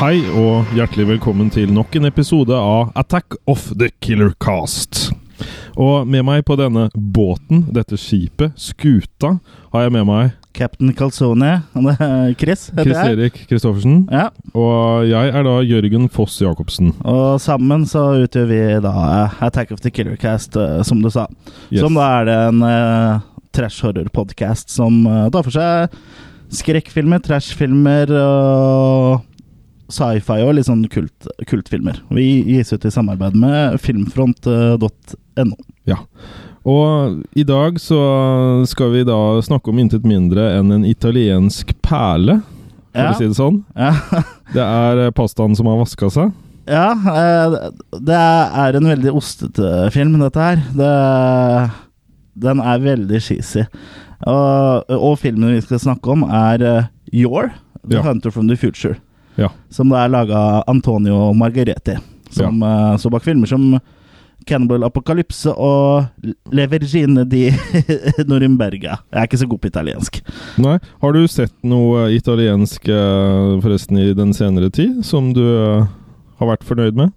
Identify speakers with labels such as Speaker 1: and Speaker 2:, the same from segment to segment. Speaker 1: Hei og hjertelig velkommen til nok en episode av Attack of the Killer Cast. Og med meg på denne båten, dette skipet, skuta, har jeg med meg
Speaker 2: Captain Calzone. Han er- Chris heter
Speaker 1: Chris
Speaker 2: jeg.
Speaker 1: Erik Kristoffersen.
Speaker 2: Ja,
Speaker 1: Og jeg er da Jørgen Foss Jacobsen.
Speaker 2: og sammen så utgjør vi da eh, Attack of the Killer Cast, eh, som du sa.
Speaker 1: Yes.
Speaker 2: Som da er det en eh, trash horror-podkast som eh, tar for seg skrekkfilmer, trashfilmer og sci-fi og litt sånn kult, kultfilmer. Vi gis ut i samarbeid med eh, filmfront.no.
Speaker 1: Og i dag så skal vi da snakke om intet mindre enn en italiensk perle, for
Speaker 2: Ja,
Speaker 1: å si det sånn.
Speaker 2: ja.
Speaker 1: Det er eh, pastaen som har vaska seg.
Speaker 2: Ja, eh, det er en veldig ostete film, dette her. Det, den er veldig cheesy. Og, og filmen vi skal snakke om, er eh, Your, The
Speaker 1: Ja.
Speaker 2: Hunter from the Future.
Speaker 1: Ja.
Speaker 2: Som det er laga Antonio Margareti, som eh, så bak filmer som Cannibal Apocalypse og Le Vergine di Norimberga. Jeg er ikke så god på italiensk.
Speaker 1: Nei. Har du sett noe eh, italiensk eh, forresten i den senere tid som du eh, har vært fornøyd med?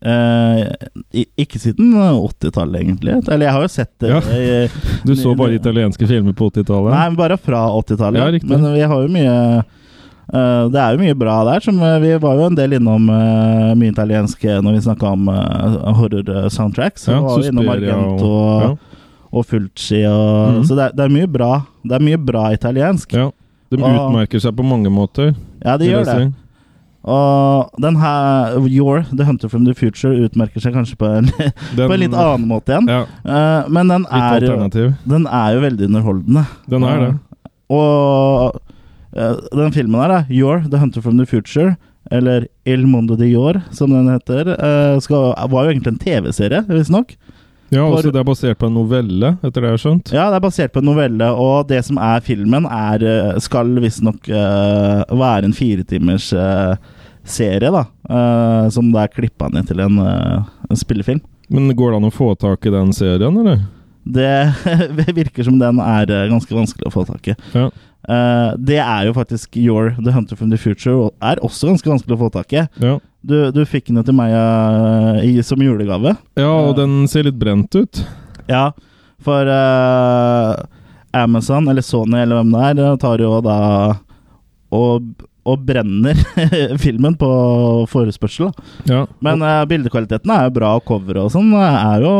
Speaker 2: Eh, i- ikke siden 80-tallet, egentlig. Eller jeg har jo sett det.
Speaker 1: Ja.
Speaker 2: i-
Speaker 1: Du så
Speaker 2: Nei,
Speaker 1: bare
Speaker 2: nei.
Speaker 1: italienske filmer på 80-tallet?
Speaker 2: Nei, men bare fra
Speaker 1: Ja,
Speaker 2: 80-tallet.
Speaker 1: riktig.
Speaker 2: men vi har jo mye eh, Det er jo mye bra der. Som, eh, vi var jo en del innom eh, mye italiensk eh, når vi snakka om eh, horror-soundtracks.
Speaker 1: Ja,
Speaker 2: vi var jo innom
Speaker 1: Suspiria og-
Speaker 2: Argento og,
Speaker 1: ja.
Speaker 2: og Fulci og
Speaker 1: Mhm.
Speaker 2: Så det er, det er mye bra. Det er mye bra italiensk.
Speaker 1: ja. De
Speaker 2: Og-
Speaker 1: utmerker seg på mange måter.
Speaker 2: Ja, de
Speaker 1: vil jeg
Speaker 2: gjør det.
Speaker 1: si.
Speaker 2: Og den her Your, The Hunter from the Future, utmerker seg kanskje på en,
Speaker 1: Den-
Speaker 2: på en litt annen måte igjen.
Speaker 1: Ja,
Speaker 2: Eh, men den
Speaker 1: litt
Speaker 2: er, jo,
Speaker 1: alternativ.
Speaker 2: den er jo veldig underholdende.
Speaker 1: Den er det.
Speaker 2: Og eh, den filmen her, da, Your, The Hunter from the Future, eller Il Mondo di Your, som den heter, eh, skal, var jo egentlig en TV-serie, visstnok.
Speaker 1: Ja,
Speaker 2: For-
Speaker 1: også Det er basert på en novelle, etter det jeg har skjønt.
Speaker 2: Ja, det er basert på en novelle, og det som er filmen, er, eh, skal visstnok uh, være en firetimers eh, serie, da. eh, som det er klippa ned til en, eh, en spillefilm.
Speaker 1: Men går det an å få tak i den serien, eller?
Speaker 2: Det virker som den er eh, ganske vanskelig å få tak i.
Speaker 1: Ja.
Speaker 2: Eh, det er jo faktisk Your The Hunter from the Future og er også ganske vanskelig å få tak i.
Speaker 1: ja.
Speaker 2: Du, du fikk den jo til meg eh, i, som julegave.
Speaker 1: Ja, og
Speaker 2: Ja.
Speaker 1: den ser litt brent ut.
Speaker 2: Ja, for eh, Amazon, eller Sony, eller hvem det er, eh, tar jo da og, og brenner filmen på forespørsel. Da.
Speaker 1: Ja.
Speaker 2: Men eh, bildekvaliteten er jo bra, og coveret og sånn er jo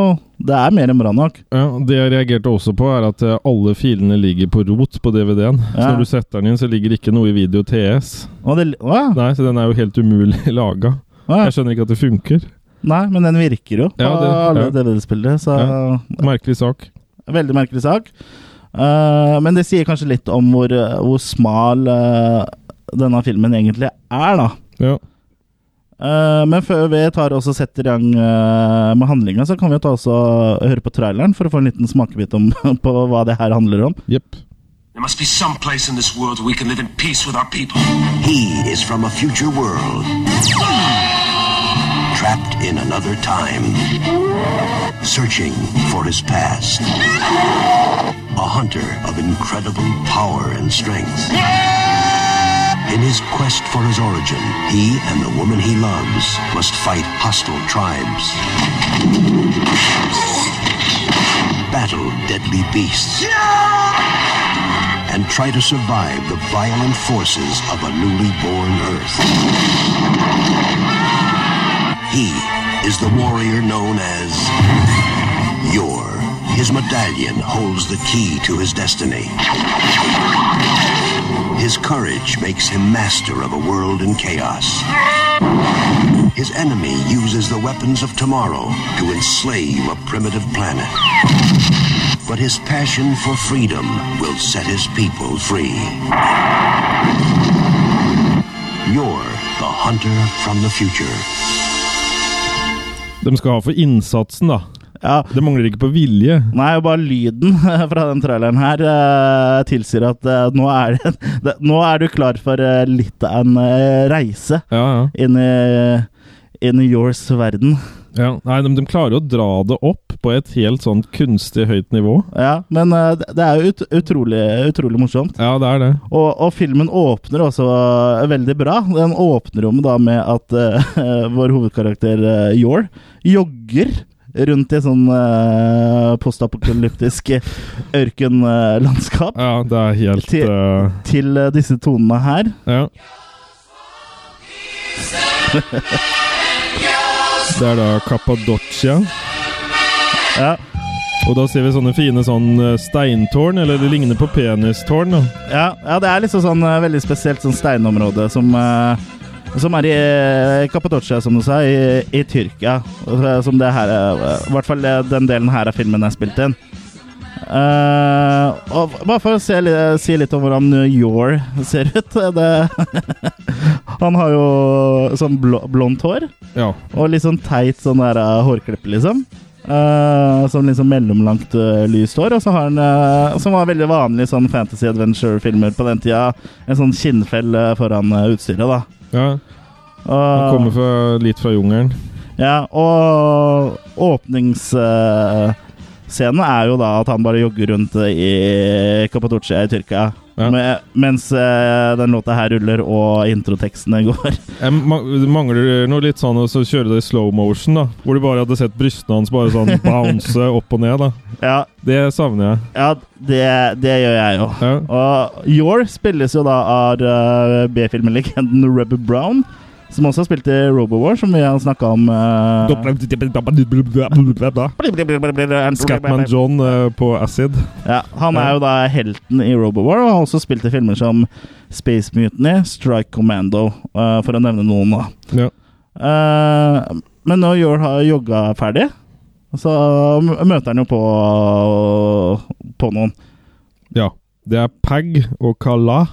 Speaker 2: Det er mer enn bra nok.
Speaker 1: ja, Det jeg reagerte også på, er at eh, alle filene ligger på rot på DVD-en. Så
Speaker 2: Ja.
Speaker 1: når du setter den inn, så ligger ikke noe i video TS.
Speaker 2: Og det, å, ja,
Speaker 1: Nei, Så den er jo helt umulig laga.
Speaker 2: å, ja.
Speaker 1: Jeg skjønner ikke at det funker.
Speaker 2: Nei, men den virker jo på
Speaker 1: Ja, det-
Speaker 2: alle
Speaker 1: ja.
Speaker 2: DVD-spillere, så
Speaker 1: Merkelig sak.
Speaker 2: Veldig merkelig sak. Eh, men det sier kanskje litt om hvor, eh, hvor smal eh, denne filmen egentlig er, da.
Speaker 1: Ja.
Speaker 2: Eh, men før vi tar og så setter i gang eh, med handlinga, så kan vi jo ta også høre på traileren for å få en liten smakebit om, på hva det her handler om.
Speaker 1: Jepp.
Speaker 3: There must be some place in this world where we can live in peace with our people.
Speaker 4: He is from a future world. Trapped in another time. Searching for his past. A hunter of incredible power and strength. In his quest for his origin, he and the woman he loves must fight hostile tribes. Battle deadly beasts and try to survive the violent forces of a newly born Earth. He is the warrior known as Yor. His medallion holds the key to his destiny. His courage makes him master of a world in chaos. His enemy uses the weapons of tomorrow to enslave a primitive planet but his passion for freedom will set his people free. You're the hunter from the future.
Speaker 1: De skal ha for innsatsen, da.
Speaker 2: Ja,
Speaker 1: Det mangler ikke på vilje.
Speaker 2: Nei, bare lyden fra den traileren her eh, tilsier at eh, nå, er det, det, nå er du klar for eh, litt av en eh, reise
Speaker 1: Ja, ja.
Speaker 2: inn i, inn i yours verden.
Speaker 1: Ja, nei, de, de klarer å dra det opp på et helt sånn kunstig høyt nivå.
Speaker 2: Ja, men eh, det det er jo ut, utrolig, utrolig morsomt.
Speaker 1: Ja, det er det.
Speaker 2: Og, og filmen åpner også eh, veldig bra. Den åpner jo med da med at eh, vår hovedkarakter uh, Yor jogger rundt i sånn eh, postapokalyptisk ørkenlandskap
Speaker 1: Ja, det er helt
Speaker 2: Til-
Speaker 1: eh,
Speaker 2: til eh, disse tonene her.
Speaker 1: Ja. Det er da Kappadocia.
Speaker 2: Ja,
Speaker 1: Og da ser vi sånne fine sånn eh, steintårn, eller det ligner på penistårn. da.
Speaker 2: ja, ja det er liksom sånn eh, veldig spesielt sånn steinområde som eh, som er i eh, Kappadocia, som du sa, i, i Tyrkia. eh, Som det her er I hvert fall eh, den delen her av filmen er spilt inn. Eh, og bare for å se, li- si litt om hvordan New York ser ut eh, det, Han har jo sånn blå, blondt hår
Speaker 1: Ja.
Speaker 2: og litt sånn teit sånn der eh, hårklippe, liksom. Eh, sånn liksom mellomlangt eh, lyst hår. Og så har han, eh, som var veldig vanlig i sånn fantasy adventure-filmer på den tida, en sånn skinnfell eh, foran eh, utstyret, da.
Speaker 1: ja. Han
Speaker 2: Og,
Speaker 1: kommer fra, litt fra jungelen.
Speaker 2: ja, og åpningsscenen er jo da at han bare jogger rundt eh, i Kappadocia i Tyrkia.
Speaker 1: Ja.
Speaker 2: Med, mens eh, den låta her ruller og introtekstene går.
Speaker 1: Jeg ma mangler noe litt sånn å så kjøre det i slow motion, da. Hvor du bare hadde sett brystene hans bare sånn bounce opp og ned, da.
Speaker 2: ja,
Speaker 1: Det savner jeg.
Speaker 2: ja det, det gjør jeg jo.
Speaker 1: Ja.
Speaker 2: Og Yor spilles jo da av eh, B-filmlegenden Rubber Brown, som også har spilt i Robowar, som vi har snakka om. eh,
Speaker 1: Scatman John eh, på acid.
Speaker 2: ja, han er jo da helten i Robowar, og har også spilt i filmer som Space Mutiny, Strike Commando, eh, for å nevne noen, da.
Speaker 1: Ja.
Speaker 2: Eh, men når Yor har jogga ferdig, så m- møter han jo på, på noen.
Speaker 1: ja. Det er Pag og Kala.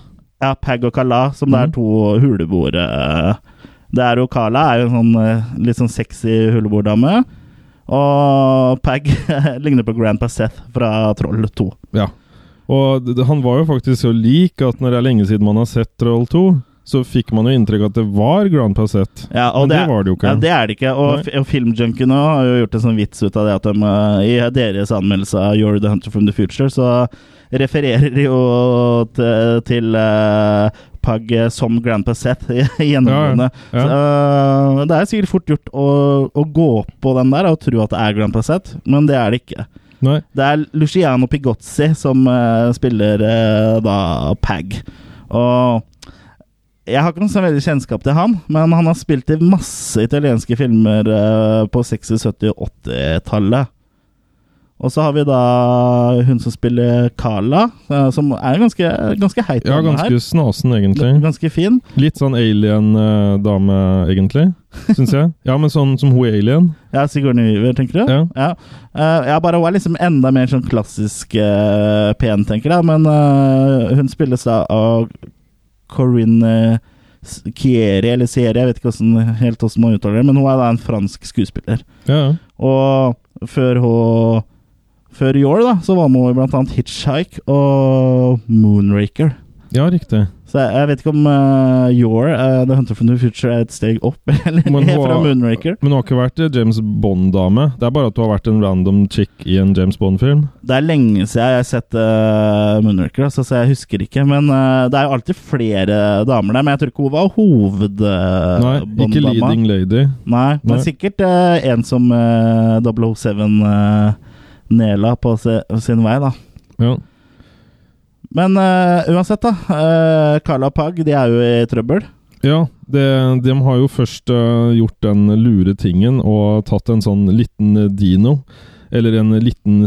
Speaker 2: Ja, Pag og Kala, som det er
Speaker 1: Mhm.
Speaker 2: to huleboere. eh. Det er jo Kala er jo en sånn eh, litt sånn sexy huleboerdame. Og Pag ligner på Grandpa Seth fra Troll 2.
Speaker 1: Ja. Og d- d- han var jo faktisk så lik at når det er lenge siden man har sett Troll 2, så fikk man jo inntrykk at det var Grand Passett.
Speaker 2: Ja, og
Speaker 1: Men det var det jo ikke.
Speaker 2: Ja, det er det ikke. Og, f- og filmjunkiene har jo gjort en sånn vits ut av det at de eh, i deres anmeldelse av You're the Hunter from the Future, så refererer de jo til, til eh, Pag som Grandpa Seth i i gjennomgående.
Speaker 1: Ja, ja.
Speaker 2: Så, eh, det er sikkert fort gjort å, å gå på den der og tro at det er Grandpa Seth, men det er det ikke.
Speaker 1: Nei.
Speaker 2: Det er Luciano Pigozzi som eh, spiller eh, da Pag. Og jeg har ikke noe så veldig kjennskap til han, men han har spilt i masse italienske filmer eh, på 60-, 70- og 80-tallet. Og så har vi da hun som spiller Carla, eh, som er ganske, ganske heit.
Speaker 1: Ja,
Speaker 2: dame
Speaker 1: ganske snasen,
Speaker 2: her.
Speaker 1: egentlig.
Speaker 2: ganske fin.
Speaker 1: Litt sånn alien-dame, egentlig. Syns jeg. Ja, men sånn som hun i alien.
Speaker 2: Ja, Sigourney Weaver, tenker du?
Speaker 1: Ja.
Speaker 2: Ja, Eh, ja bare hun er liksom enda mer sånn klassisk eh, pen, tenker jeg. Men eh, hun spilles da av Corinne eh, S- Kieri, eller Sieri, jeg vet ikke hvordan, helt hvordan man uttaler det. Men hun er da en fransk skuespiller.
Speaker 1: Ja, ja.
Speaker 2: Og før hun Før i år, da, så var hun med i blant annet Hitchhike og Moonraker.
Speaker 1: ja riktig.
Speaker 2: Så jeg, jeg vet ikke om uh, Your, eh, The Hunter from the Future, er et steg opp eller
Speaker 1: Men hun-
Speaker 2: fra Moonraker.
Speaker 1: Men hun har ikke vært eh, James Bond-dame. Det er bare at hun har vært en random chick i en James Bond-film.
Speaker 2: Det er lenge siden jeg har sett uh, Moonraker, altså, så jeg husker ikke. Men eh, det er jo alltid flere damer der. Men jeg tror ikke hun var Eh,
Speaker 1: Nei, ikke
Speaker 2: hovedbånddama.
Speaker 1: leading lady.
Speaker 2: Nei, men
Speaker 1: Nei.
Speaker 2: sikkert eh, en som eh, 007 eh, nela på se, sin vei, da.
Speaker 1: Ja.
Speaker 2: Men eh, uansett, da. eh, Carla og Pag de er jo i trøbbel.
Speaker 1: Ja, det, de har jo først øh, gjort den lure tingen og tatt en sånn liten dino, eller en liten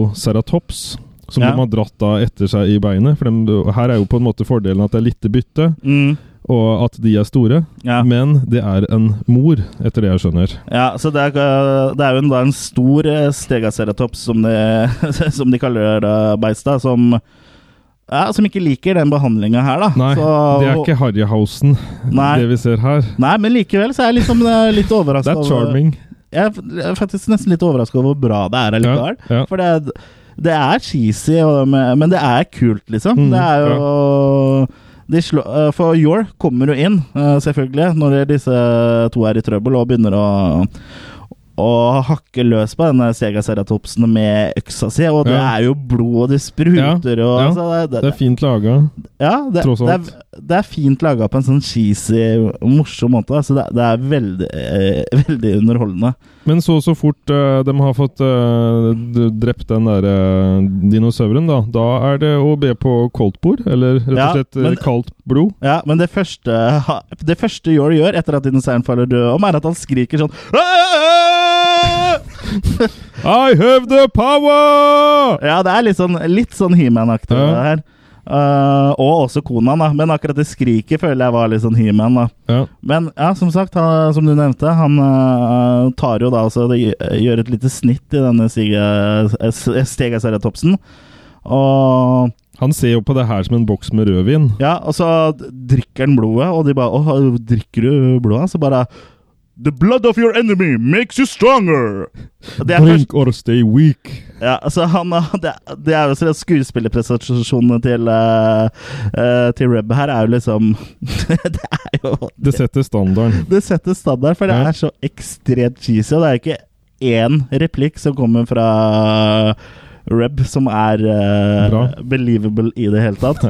Speaker 1: stegoceratops, som
Speaker 2: Ja.
Speaker 1: de har dratt da etter seg i beinet. For de, her er jo på en måte fordelen at det er lite bytte, og at de er store.
Speaker 2: Ja.
Speaker 1: Men det er en mor, etter det jeg skjønner.
Speaker 2: ja, Så det er, eh, det er jo en, da en stor eh, stegaceratops, som de, som de kaller uh, beist, da, som ja, som ikke liker den behandlinga her, da.
Speaker 1: Nei,
Speaker 2: Så-
Speaker 1: det er ikke Harryhausen,
Speaker 2: Nei.
Speaker 1: det vi ser her.
Speaker 2: Nei, men likevel så er jeg liksom eh, litt
Speaker 1: Det
Speaker 2: overraska
Speaker 1: er charming.
Speaker 2: Jeg er f- jeg er faktisk nesten litt overraska over hvor bra det
Speaker 1: Ja,
Speaker 2: er allikevel.
Speaker 1: ja.
Speaker 2: For det, det er cheesy, og, men men det er kult, liksom.
Speaker 1: Mm,
Speaker 2: det er jo de slå, eh, For Yor kommer jo inn, eh, selvfølgelig, når disse to er i trøbbel og begynner å og hakker løs på denne Segaceratopsen med øksa si, og det
Speaker 1: Ja.
Speaker 2: er jo blod, og det spruter og
Speaker 1: ja.
Speaker 2: altså, det, det,
Speaker 1: Det er fint laga.
Speaker 2: ja, det,
Speaker 1: Tross
Speaker 2: det,
Speaker 1: alt.
Speaker 2: er, det er fint laga på en sånn cheesy, morsom måte. Altså det, det er veldig, eh, veldig underholdende.
Speaker 1: Men så så fort eh, de har fått eh, d- drept den der eh, dinosauren, da Da er det å be på koldtbord, eller rett
Speaker 2: Ja,
Speaker 1: og slett eh,
Speaker 2: men-
Speaker 1: kaldt blod.
Speaker 2: Ja, Men det første, ha- det første Yor gjør etter at dinosauren faller død om, er at han skriker sånn «Aah!»
Speaker 1: I have the power!
Speaker 2: Ja, det er litt sånn, litt sånn He-Man-aktig,
Speaker 1: Ja.
Speaker 2: det her. Eh, og også Konan, da. Men akkurat det skriket føler jeg var litt sånn He-Man. da
Speaker 1: Ja.
Speaker 2: Men ja, som sagt, han, som du nevnte, han eh, tar jo da altså det gjø- Gjør et lite snitt i denne eh, Stegaceratopsen. Og
Speaker 1: Han ser jo på det her som en boks med rødvin.
Speaker 2: ja, og så drikker han blodet, og de bare Åh, drikker du blodet? Så bare The blood of your enemy makes you stronger! Det er først,
Speaker 1: Drink or stay weak.
Speaker 2: ja, altså han, har- det, er- det er jo sånn at skuespillerprestasjonene til, eh, eh, til Reb her er jo liksom Det er jo
Speaker 1: Det setter standarden.
Speaker 2: det setter standard, for det
Speaker 1: Ja.
Speaker 2: er så ekstremt cheesy. Og det er ikke én replikk som kommer fra Reb som er eh,
Speaker 1: Bra.
Speaker 2: believable i det hele tatt.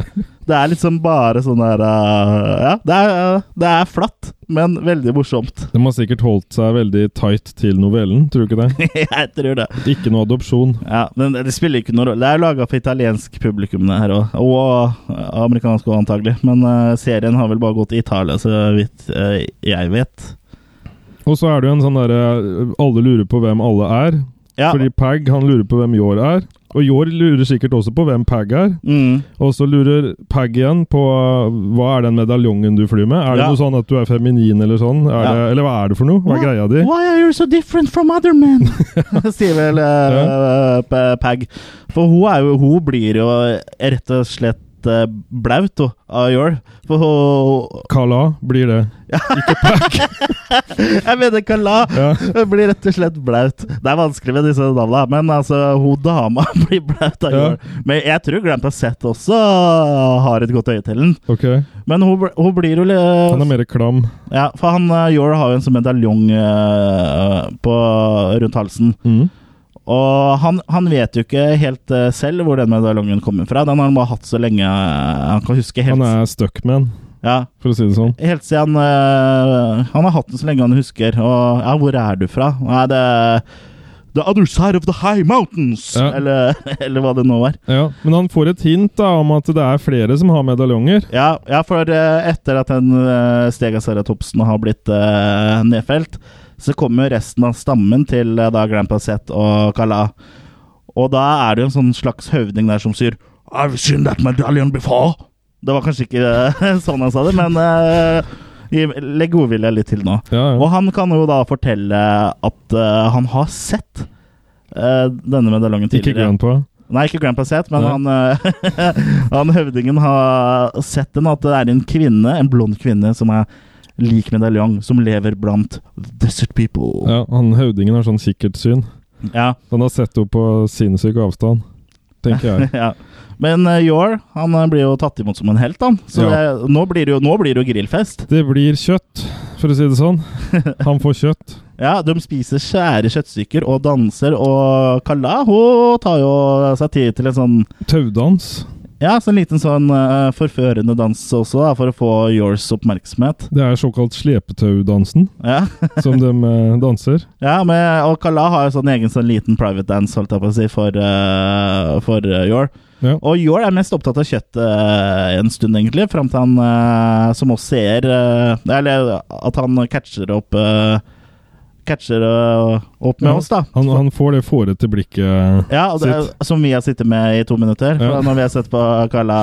Speaker 2: det er liksom bare sånn der eh, Ja, det er, det er flatt, men veldig morsomt.
Speaker 1: De har sikkert holdt seg veldig tight til novellen, tror du ikke det?
Speaker 2: Jeg tror det.
Speaker 1: Ikke noe adopsjon.
Speaker 2: Ja, men det spiller ikke noe rolle. Det er laga for italiensk publikum, det her òg. Og eh, amerikansk òg, antagelig. Men eh, serien har vel bare gått i Italia, så vidt eh, jeg vet.
Speaker 1: Og så er det jo en sånn derre Alle lurer på hvem alle er.
Speaker 2: Ja.
Speaker 1: Fordi Pag han lurer på hvem Yor er. Og Yor lurer sikkert også på hvem Pag er.
Speaker 2: Mm.
Speaker 1: Og så lurer Pag igjen på uh, hva er den medaljongen du flyr med? Er det
Speaker 2: Ja.
Speaker 1: noe sånn at du er feminin eller sånn? Er
Speaker 2: Ja.
Speaker 1: det, eller hva er det for noe? Hva er greia di?
Speaker 2: Why are you so different from other men? Sier vel eh, P- Pag. For hun, er jo, hun blir jo rett og slett eh, blaut hun, av Yor. For hun
Speaker 1: Kala blir det.
Speaker 2: Jeg mener Kala!
Speaker 1: Ja.
Speaker 2: Hun blir rett og slett blaut. Det er vanskelig med disse navnene, men altså, hun dama blir blaut av
Speaker 1: Ja.
Speaker 2: Yor. Men jeg tror Grandpa Sett også har et godt øye til den.
Speaker 1: Ok.
Speaker 2: Men hun, bl- hun blir jo li-
Speaker 1: Han er mer klam.
Speaker 2: Ja, for han eh, Yor har jo en sånn medaljong eh, på- rundt halsen.
Speaker 1: Mm.
Speaker 2: Og han, han vet jo ikke helt eh, selv hvor den medaljongen kommer fra. Den har han bare hatt så lenge eh, han kan huske. Helt,
Speaker 1: Han er stuck man,
Speaker 2: ja,
Speaker 1: for å si det sånn.
Speaker 2: helt siden eh, Han har hatt den så lenge han husker. Og ja, hvor er du fra? Nei, det The other side of the high mountains!
Speaker 1: Ja.
Speaker 2: Eller, eller hva det nå var.
Speaker 1: Ja, Men han får et hint da om at det er flere som har medaljonger.
Speaker 2: Ja, ja for eh, etter at den uh, Stegaceratopsen har blitt eh, nedfelt, så kommer jo resten av stammen til eh, da Grandpa Sett og Kala. Og da er det jo en sånn slags høvding der som sier I've seen that medallion before. Det var kanskje ikke eh, sånn han sa det, men eh, gi- legg godvilje litt til nå.
Speaker 1: Ja,
Speaker 2: Og
Speaker 1: ja.
Speaker 2: han kan jo da fortelle at eh, han har sett eh, denne medaljongen
Speaker 1: Ikke
Speaker 2: tidligere.
Speaker 1: grann på.
Speaker 2: Nei, ikke Grandpa Set, men
Speaker 1: Nei.
Speaker 2: han, eh, han høvdingen har sett den at det er en kvinne, en blond kvinne, som er lik medaljong, som lever blant desert people.
Speaker 1: Ja, han høvdingen har sånn kikkertsyn.
Speaker 2: Ja.
Speaker 1: Han har sett henne på sinnssyk avstand, tenker jeg.
Speaker 2: ja. Men eh, Yor, han eh, blir jo tatt imot som en helt, han. Så
Speaker 1: Ja.
Speaker 2: det, nå, blir det jo, nå blir det jo grillfest.
Speaker 1: Det blir kjøtt, for å si det sånn. Han får kjøtt.
Speaker 2: Ja, de spiser skjære kjøttstykker og danser, og Kala, hun tar jo seg tid til en sånn
Speaker 1: Taudans.
Speaker 2: ja, så en liten sånn eh, forførende dans også, da, for å få Yors oppmerksomhet.
Speaker 1: Det er såkalt slepetaudansen
Speaker 2: Ja.
Speaker 1: som de eh, danser.
Speaker 2: Ja, men, og Kala har jo sånn egen sånn liten private dance, holdt jeg på å si, for, eh, for eh, Yor.
Speaker 1: Ja.
Speaker 2: Og Yor er mest opptatt av kjøttet eh, en stund, egentlig, fram til han eh, som oss ser eh, Eller at han catcher opp eh, Catcher eh, opp med
Speaker 1: Ja,
Speaker 2: oss, da.
Speaker 1: Han, han får det fårete blikket.
Speaker 2: ja, og det, er- Som vi har sittet med i to minutter.
Speaker 1: Ja.
Speaker 2: For Når vi har sett på Kala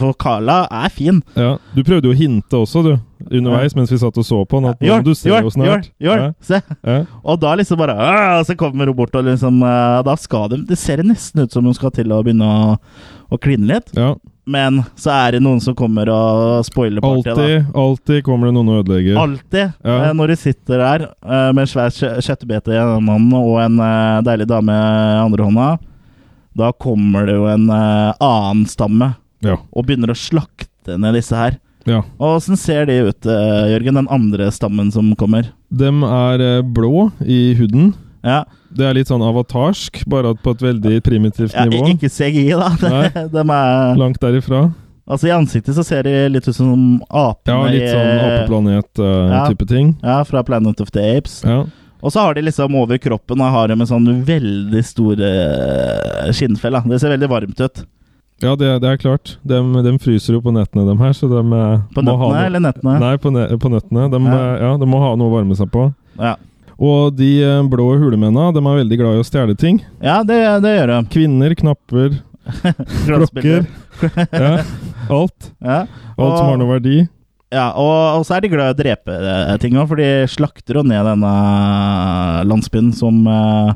Speaker 2: For Kala er fin.
Speaker 1: Ja. Du prøvde jo å hinte også, du, underveis mens vi satt og så på han. At nå
Speaker 2: Yor,
Speaker 1: må du se
Speaker 2: Yor,
Speaker 1: jo snart.
Speaker 2: Yor, Yor, se.
Speaker 1: Ja, ja.
Speaker 2: Og da liksom bare «Åh!» Så kommer hun bort og liksom eh, Da skal de Det ser nesten ut som hun skal til å begynne å, å kline litt.
Speaker 1: ja.
Speaker 2: Men så er det noen som kommer og spoiler partyet.
Speaker 1: Alltid, alltid kommer det noen og ødelegger.
Speaker 2: da. Alltid.
Speaker 1: Ja.
Speaker 2: eh, Når de sitter der eh, med en svær kjø- kjøttbete i den ene hånden og en eh, deilig dame i andre hånda, da kommer det jo en eh, annen stamme
Speaker 1: Ja.
Speaker 2: og begynner å slakte ned disse her.
Speaker 1: Ja.
Speaker 2: Og Åssen ser de ut, eh, Jørgen? Den andre stammen som kommer?
Speaker 1: Dem er eh, blå i huden.
Speaker 2: Ja,
Speaker 1: Det er litt sånn avatarsk, bare at på et veldig primitivt
Speaker 2: ja
Speaker 1: nivå.
Speaker 2: i- Ikke CGI, da.
Speaker 1: Nei.
Speaker 2: De er,
Speaker 1: Langt derifra.
Speaker 2: altså I ansiktet så ser de litt ut som apene
Speaker 1: Ja, litt sånn
Speaker 2: eh, ja.
Speaker 1: apeplanet-type ting.
Speaker 2: i- Ja, fra Planet of the Apes.
Speaker 1: Ja.
Speaker 2: Og så har de liksom over kroppen og har de en sånn veldig stor eh, skinnfell. da. Det ser veldig varmt ut.
Speaker 1: Ja, det, det er klart. De, fryser jo på nettene, de her. Så de eh,
Speaker 2: På
Speaker 1: må ha
Speaker 2: nøttene
Speaker 1: noe-
Speaker 2: eller nettene?
Speaker 1: Nei, på, ne på nøttene. De,
Speaker 2: Ja.
Speaker 1: eh, ja, de må ha noe å varme seg på.
Speaker 2: Ja,
Speaker 1: Og de eh, blå hulemennene, de er veldig glad i å stjele ting.
Speaker 2: ja det, det gjør de.
Speaker 1: Kvinner, knapper,
Speaker 2: Glassbilder.
Speaker 1: klokker. ja, alt.
Speaker 2: Ja.
Speaker 1: Alt som har noe verdi.
Speaker 2: Ja, og, og så er de glad i å drepe eh, ting òg, for de slakter jo ned denne landsbyen som eh,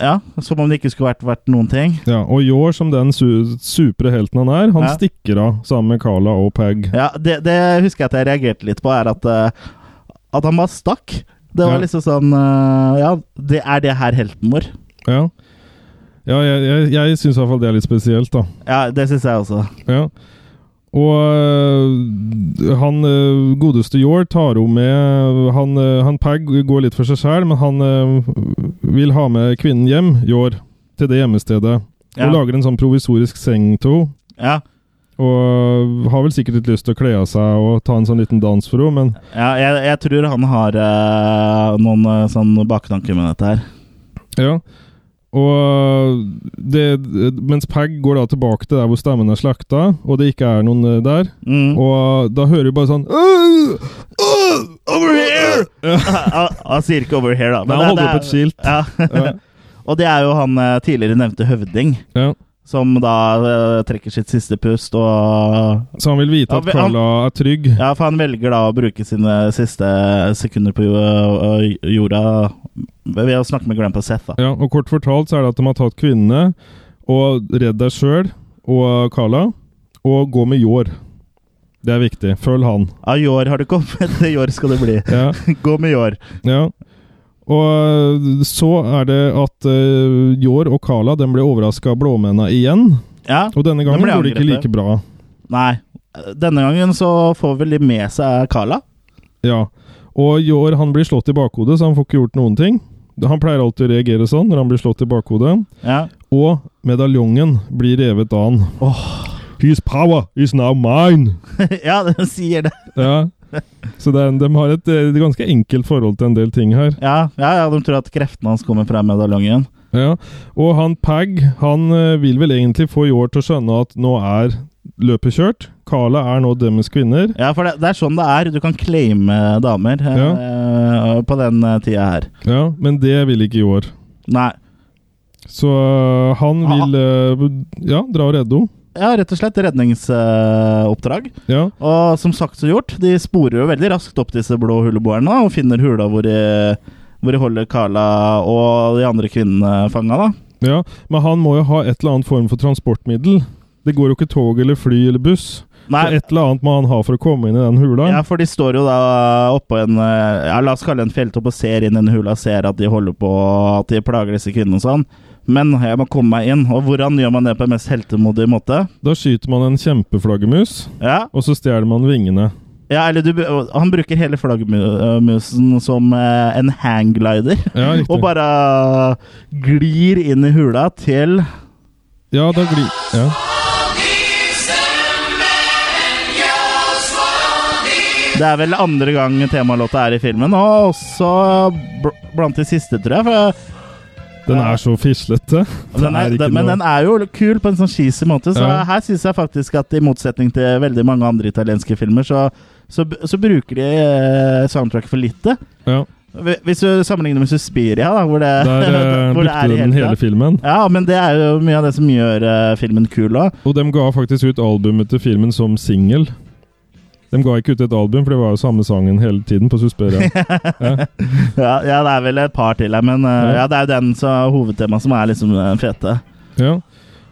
Speaker 2: Ja, som om det ikke skulle vært, vært noen ting.
Speaker 1: Ja, og Yor, som den su supre helten han er, han
Speaker 2: Ja.
Speaker 1: stikker av sammen med Carla og Peg.
Speaker 2: Ja, det, det husker jeg at jeg reagerte litt på, er at, eh, at han bare stakk. Det var
Speaker 1: Ja.
Speaker 2: liksom sånn eh, Ja, det er det her helten vår?
Speaker 1: Ja, ja jeg, jeg, jeg syns iallfall det er litt spesielt, da.
Speaker 2: Ja, det syns jeg også.
Speaker 1: Ja. Og øh, han øh, godeste Yor tar hun med Han, øh, han Peg går litt for seg sjæl, men han øh, vil ha med kvinnen hjem, Yor, til det gjemmestedet.
Speaker 2: Ja.
Speaker 1: Og lager en sånn provisorisk seng til henne.
Speaker 2: Ja,
Speaker 1: Og eh, har vel sikkert litt lyst til å kle av seg og ta en sånn liten dans for henne, men
Speaker 2: ja jeg, jeg tror han har eh, noen eh, sånn baktanker med dette her.
Speaker 1: ja. Og eh, det, mens Peg går da tilbake til der hvor stammen er slakta, og det ikke er noen øh, der,
Speaker 2: Mm.
Speaker 1: og da hører du bare sånn «Åh! Åh!
Speaker 2: Over here!
Speaker 1: Ja.
Speaker 2: Han han sier ikke 'over here', da.
Speaker 1: Nei, han holder opp et
Speaker 2: er-
Speaker 1: skilt.
Speaker 2: Ja. og det er jo han eh, tidligere nevnte høvding,
Speaker 1: Ja.
Speaker 2: som da eh, trekker sitt siste pust og
Speaker 1: Så han vil vite
Speaker 2: Ja,
Speaker 1: at
Speaker 2: men han-
Speaker 1: Carla er trygg.
Speaker 2: Ja, for han velger da å bruke sine siste sekunder på jo- ø- jorda ved å snakke med Grandpa Seth, da.
Speaker 1: Ja, og kort fortalt så er det at de har tatt kvinnene og Redd deg sjøl og Carla, og gå med Jår. Det er viktig. Følg han.
Speaker 2: Ja, i år har du kommet, i år skal du bli.
Speaker 1: Ja,
Speaker 2: Gå med i år.
Speaker 1: ja. Og så er det at eh, Jår og Carla den ble overraska av blåmennene igjen.
Speaker 2: Ja,
Speaker 1: Og denne gangen
Speaker 2: ble
Speaker 1: går det ikke
Speaker 2: angrepet.
Speaker 1: like bra.
Speaker 2: nei. Denne gangen så får vel de med seg Carla.
Speaker 1: Ja. Og Jår han blir slått i bakhodet, så han får ikke gjort noen ting. Han pleier alltid å reagere sånn når han blir slått i bakhodet.
Speaker 2: Ja.
Speaker 1: Og medaljongen blir revet av han. His power is now mine!
Speaker 2: ja, den sier det.
Speaker 1: Ja. Så det er, de har et, eh, ganske enkelt forhold til en del ting her.
Speaker 2: Ja, ja, ja, de tror at kreftene hans kommer fra medaljongen.
Speaker 1: Ja. Og han Pag han eh, vil vel egentlig få Yor til å skjønne at nå er løpet kjørt. Carla er nå deres kvinner.
Speaker 2: Ja, for det, det er sånn det er. Du kan claime damer eh, på den eh, tida her.
Speaker 1: Ja, men det vil ikke Yor.
Speaker 2: Nei.
Speaker 1: Så eh, han vil eh, ja, dra og redde henne.
Speaker 2: Ja, rett og slett redningsoppdrag.
Speaker 1: Ja.
Speaker 2: og som sagt så gjort, de sporer jo veldig raskt opp disse blå huleboerne og finner hula hvor de, hvor de holder Carla og de andre kvinnene fanga, da.
Speaker 1: ja. Men han må jo ha et eller annet form for transportmiddel. Det går jo ikke tog eller fly eller buss.
Speaker 2: Nei,
Speaker 1: Så et eller annet må han ha for å komme inn i den hula.
Speaker 2: ja, for de står jo da oppå en eh, Ja, la oss kalle det en fjelltopp og ser inn i en hula, ser at de holder på, at de plager disse kvinnene og sånn. Men jeg må komme meg inn. Og hvordan gjør man det på en mest heltemodig måte?
Speaker 1: Da skyter man en kjempeflaggermus,
Speaker 2: Ja,
Speaker 1: og så stjeler man vingene.
Speaker 2: ja eller du b- Han bruker hele flaggmusen som eh, en hangglider.
Speaker 1: Ja, riktig.
Speaker 2: Og bare glir inn i hula til
Speaker 1: Ja, da glir ja.
Speaker 2: Det er vel andre gang temalåta er i filmen, og også bl blant de siste, tror jeg. For
Speaker 1: Den er så fislete.
Speaker 2: den er, den, men den er jo kul på en sånn cheesy måte, så
Speaker 1: Ja.
Speaker 2: her syns jeg faktisk at i motsetning til veldig mange andre italienske filmer, så, så, b- så bruker de eh, soundtrack for lite.
Speaker 1: ja,
Speaker 2: Hvi- Hvis du sammenligner med Suspiria, da, hvor det,
Speaker 1: Der eh,
Speaker 2: hvor det
Speaker 1: brukte
Speaker 2: er i
Speaker 1: den
Speaker 2: hele
Speaker 1: hele
Speaker 2: tatt.
Speaker 1: filmen.
Speaker 2: Ja, men det er jo mye av det som gjør eh, filmen kul òg.
Speaker 1: Og de ga faktisk ut albumet til filmen som singel. De ga ikke ut et album, for det var jo samme sangen hele tiden på Susperia.
Speaker 2: Ja, ja, det er vel et par til her, men eh,
Speaker 1: Ja.
Speaker 2: ja, det er jo den så, hovedtemaet som er liksom eh, fete.
Speaker 1: Ja.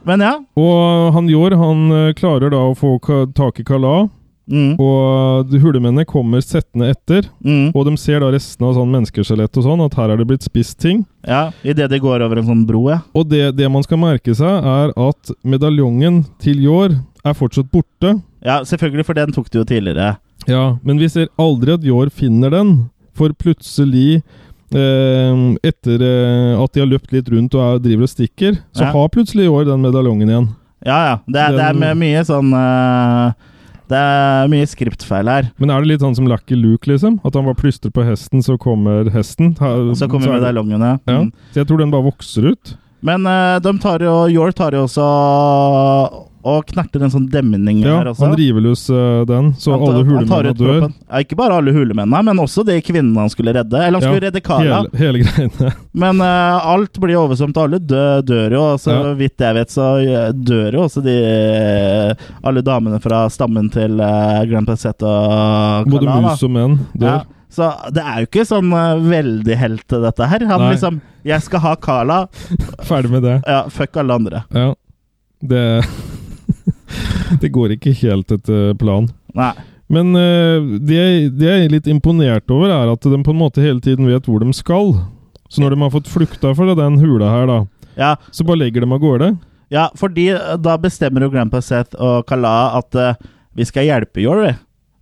Speaker 2: Men ja.
Speaker 1: Og han Jår han eh, klarer da å få ka- tak i Kala,
Speaker 2: Mm,
Speaker 1: og de hulemennene kommer settende etter.
Speaker 2: mm.
Speaker 1: Og de ser da restene av sånn menneskeskjelett og sånn, at her er det blitt spist ting.
Speaker 2: Ja, idet de går over en sånn bro, ja.
Speaker 1: Og det, det man skal merke seg, er at medaljongen til Jår er fortsatt borte,
Speaker 2: Ja, selvfølgelig, for den tok du jo tidligere.
Speaker 1: Ja, men vi ser aldri at Jår finner den, for plutselig eh, etter eh, at de har løpt litt rundt og er, driver og stikker, så
Speaker 2: Ja.
Speaker 1: har plutselig Jår den medaljongen igjen.
Speaker 2: Ja, ja. Det, er- det er
Speaker 1: Den-
Speaker 2: mye- mye sånn eh, Det er mye skriptfeil her.
Speaker 1: Men er det litt sånn som Lucky Luke, liksom? At han var plystret på hesten, så kommer hesten? Her,
Speaker 2: Og så kommer
Speaker 1: Mm, er det-
Speaker 2: medaljongene.
Speaker 1: Ja.
Speaker 2: Mm.
Speaker 1: Så jeg tror den bare vokser ut.
Speaker 2: Men eh, de tar jo Yor tar jo også og knerter en sånn demning
Speaker 1: Ja,
Speaker 2: her også.
Speaker 1: Han river løs eh, den, så
Speaker 2: Han-
Speaker 1: alle
Speaker 2: han tar
Speaker 1: hulemennene
Speaker 2: ut
Speaker 1: dør.
Speaker 2: kroppen. Ja, ikke bare alle hulemennene, men også de kvinnene han skulle redde. Eller han
Speaker 1: Ja,
Speaker 2: skulle redde Kara,
Speaker 1: Hele, hele greiene.
Speaker 2: men eh, alt blir oversvømt. Alle dø, dør jo, og så
Speaker 1: Ja.
Speaker 2: vidt jeg vet, så eh, dør jo også de eh, Alle damene fra stammen til eh, Grandpa Zett og
Speaker 1: Både
Speaker 2: Kala. da.
Speaker 1: mus og menn
Speaker 2: Ja,
Speaker 1: dør.
Speaker 2: så det er jo ikke sånn eh, veldig helt til dette her. Han
Speaker 1: Nei.
Speaker 2: liksom 'Jeg skal ha Carla.
Speaker 1: Ferdig med det.
Speaker 2: Ja, fuck alle andre'.
Speaker 1: Ja. Det Det går ikke helt etter planen.
Speaker 2: Nei.
Speaker 1: Men eh, det, det jeg er litt imponert over, er at de på en måte hele tiden vet hvor de skal. Så når de har fått flukta fra den hula her, da,
Speaker 2: Ja,
Speaker 1: så bare legger de av gårde.
Speaker 2: ja fordi eh, da bestemmer jo Grandpa Seth og Kala at eh, vi skal hjelpe Yor, vi.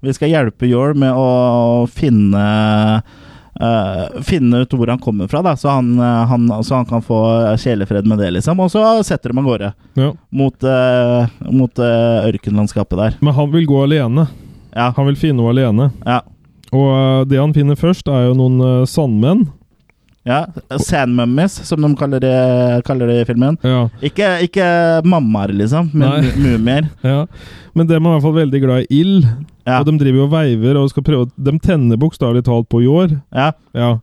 Speaker 2: Vi skal hjelpe Yor med å finne eh, finne ut hvor han kommer fra, da, så han, eh, han, så han kan få sjelefred med det, liksom. Og så setter de av gårde
Speaker 1: Ja.
Speaker 2: mot, eh, mot eh, ørkenlandskapet der.
Speaker 1: Men han vil gå alene.
Speaker 2: Ja,
Speaker 1: Han vil finne henne alene.
Speaker 2: ja.
Speaker 1: Og eh, det han finner først, er jo noen eh, sandmenn.
Speaker 2: Ja, Sand Mummies, som de kaller det, kaller det i filmen.
Speaker 1: Ja.
Speaker 2: Ikke, ikke mammaer, liksom, men
Speaker 1: Nei.
Speaker 2: mumier.
Speaker 1: ja. Men de er i hvert fall veldig glad i ild.
Speaker 2: Ja,
Speaker 1: Og de driver jo og veiver og skal prøve å- De tenner bokstavelig talt på jord.
Speaker 2: ja,
Speaker 1: Ja.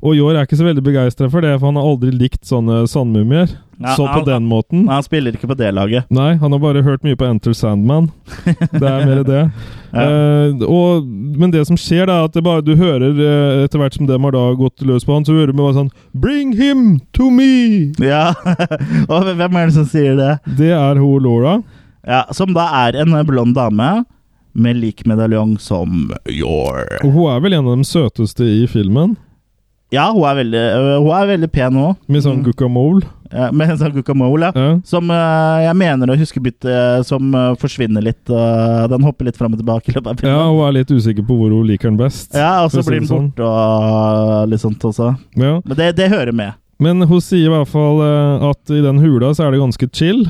Speaker 1: Og Jår er ikke så veldig begeistra for det, for han har aldri likt sånne sandmumier.
Speaker 2: Ja,
Speaker 1: så på
Speaker 2: han-
Speaker 1: den måten.
Speaker 2: Nei, han spiller ikke på det laget.
Speaker 1: Nei, han har bare hørt mye på Enter Sandman. Det er mer det.
Speaker 2: Ja.
Speaker 1: Eh, og, men det som skjer, da, er at det bare, du hører eh, etter hvert som dem har da gått løs på han, så hører du bare sånn Bring him to me!
Speaker 2: Ja, og hvem er det som sier det?
Speaker 1: Det er hun Laura.
Speaker 2: Ja, Som da er en blond dame med lik medaljong som Your.
Speaker 1: Og hun er vel en av de søteste i filmen,
Speaker 2: Ja, hun er veldig, øh, hun er veldig pen òg,
Speaker 1: med sånn guacamole.
Speaker 2: med en sånn guacamole. Ja.
Speaker 1: Ja.
Speaker 2: Som øh, jeg mener å huske bytte Som øh, forsvinner litt. øh, den hopper litt fram og tilbake. i løpet av filmen.
Speaker 1: ja, hun er litt usikker på hvor hun liker den best.
Speaker 2: Ja, og
Speaker 1: for
Speaker 2: så
Speaker 1: å si
Speaker 2: blir den
Speaker 1: det sånn.
Speaker 2: borte og litt sånt også.
Speaker 1: Ja.
Speaker 2: Men det, det hører med.
Speaker 1: Men hun sier i hvert fall eh, at i den hula så er det ganske chill.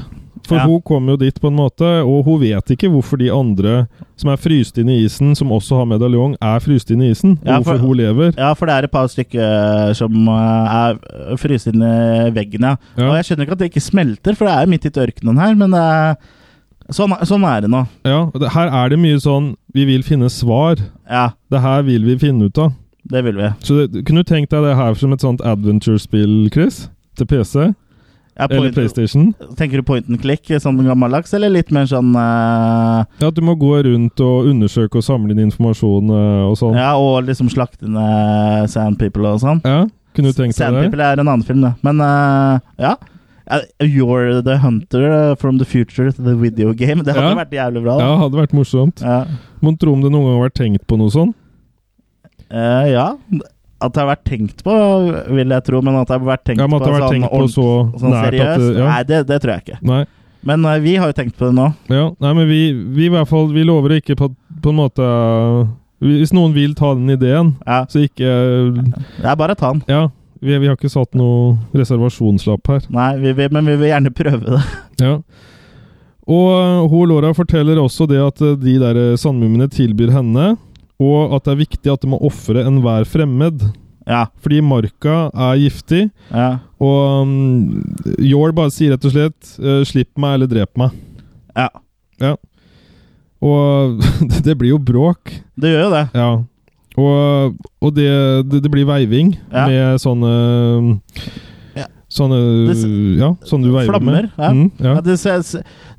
Speaker 1: For
Speaker 2: Ja.
Speaker 1: hun kom jo dit på en måte, og hun vet ikke hvorfor de andre som er fryst inn i isen, som også har medaljong, er fryst inn i isen. Og
Speaker 2: Ja, for-
Speaker 1: hvorfor hun lever.
Speaker 2: Ja, for det er et par stykker som eh, er fryst inn i veggen, ja.
Speaker 1: Ja.
Speaker 2: Og jeg skjønner ikke at det ikke smelter, for det er jo midt ute i ørkenen her, men eh, sånn, sånn er det nå.
Speaker 1: Ja, og det- her er det mye sånn 'vi vil finne svar'.
Speaker 2: Ja,
Speaker 1: Det her vil vi finne ut av.
Speaker 2: det vil vi.
Speaker 1: Så det, kunne du tenkt deg det her som et sånt adventure-spill, Chris? Til PC?
Speaker 2: Ja,
Speaker 1: Eller
Speaker 2: point-
Speaker 1: PlayStation?
Speaker 2: Tenker du point and click, sånn gammeldags, eller litt mer sånn eh,
Speaker 1: Ja, at du må gå rundt og undersøke og samle inn informasjon eh, og sånn.
Speaker 2: Ja, og liksom slakte ned sand people og sånn?
Speaker 1: Ja, Kunne du tenkt
Speaker 2: Sand
Speaker 1: deg det?
Speaker 2: people er en annen film, det. Men eh, ja. Eh, You're the hunter eh, from the future to the video game. Det
Speaker 1: Ja.
Speaker 2: hadde vært jævlig bra. da.
Speaker 1: Ja, hadde vært morsomt.
Speaker 2: Ja.
Speaker 1: Mon tro om det noen gang har vært tenkt på noe sånn?
Speaker 2: Eh, ja. At det har vært tenkt på, vil jeg tro, men at det har vært tenkt
Speaker 1: Ja, men
Speaker 2: på
Speaker 1: at det har vært
Speaker 2: sånn,
Speaker 1: tenkt på så
Speaker 2: ordent- sånn
Speaker 1: nært at
Speaker 2: seriøst,
Speaker 1: det, ja.
Speaker 2: nei, det, det tror jeg ikke.
Speaker 1: Nei.
Speaker 2: Men eh, vi har jo tenkt på det nå.
Speaker 1: Ja. Nei, men vi, vi i hvert fall Vi lover ikke på, på en måte øh, Hvis noen vil ta den ideen,
Speaker 2: Ja,
Speaker 1: så ikke øh,
Speaker 2: det er bare å ta den.
Speaker 1: Ja. Vi, vi har ikke satt noe reservasjonslapp her.
Speaker 2: Nei, vi, vil- men vi vil gjerne prøve det.
Speaker 1: Ja. Og øh, hun Laura forteller også det at øh, de der øh, sandmumiene tilbyr henne, og at det er viktig at de må ofre enhver fremmed.
Speaker 2: Ja,
Speaker 1: Fordi marka er giftig,
Speaker 2: ja,
Speaker 1: og um, Jor bare sier rett og slett øh, 'slipp meg, eller drep meg'.
Speaker 2: ja.
Speaker 1: Og det- det blir jo bråk.
Speaker 2: Det gjør jo det.
Speaker 1: Ja. Og, og det, det, det blir veiving
Speaker 2: Ja.
Speaker 1: med sånne
Speaker 2: Ja.
Speaker 1: Sånne
Speaker 2: Det s-
Speaker 1: Ja, sånn du veiver
Speaker 2: Flammer.
Speaker 1: med.
Speaker 2: Ja.
Speaker 1: Mm, ja.
Speaker 2: Ja, det, ser,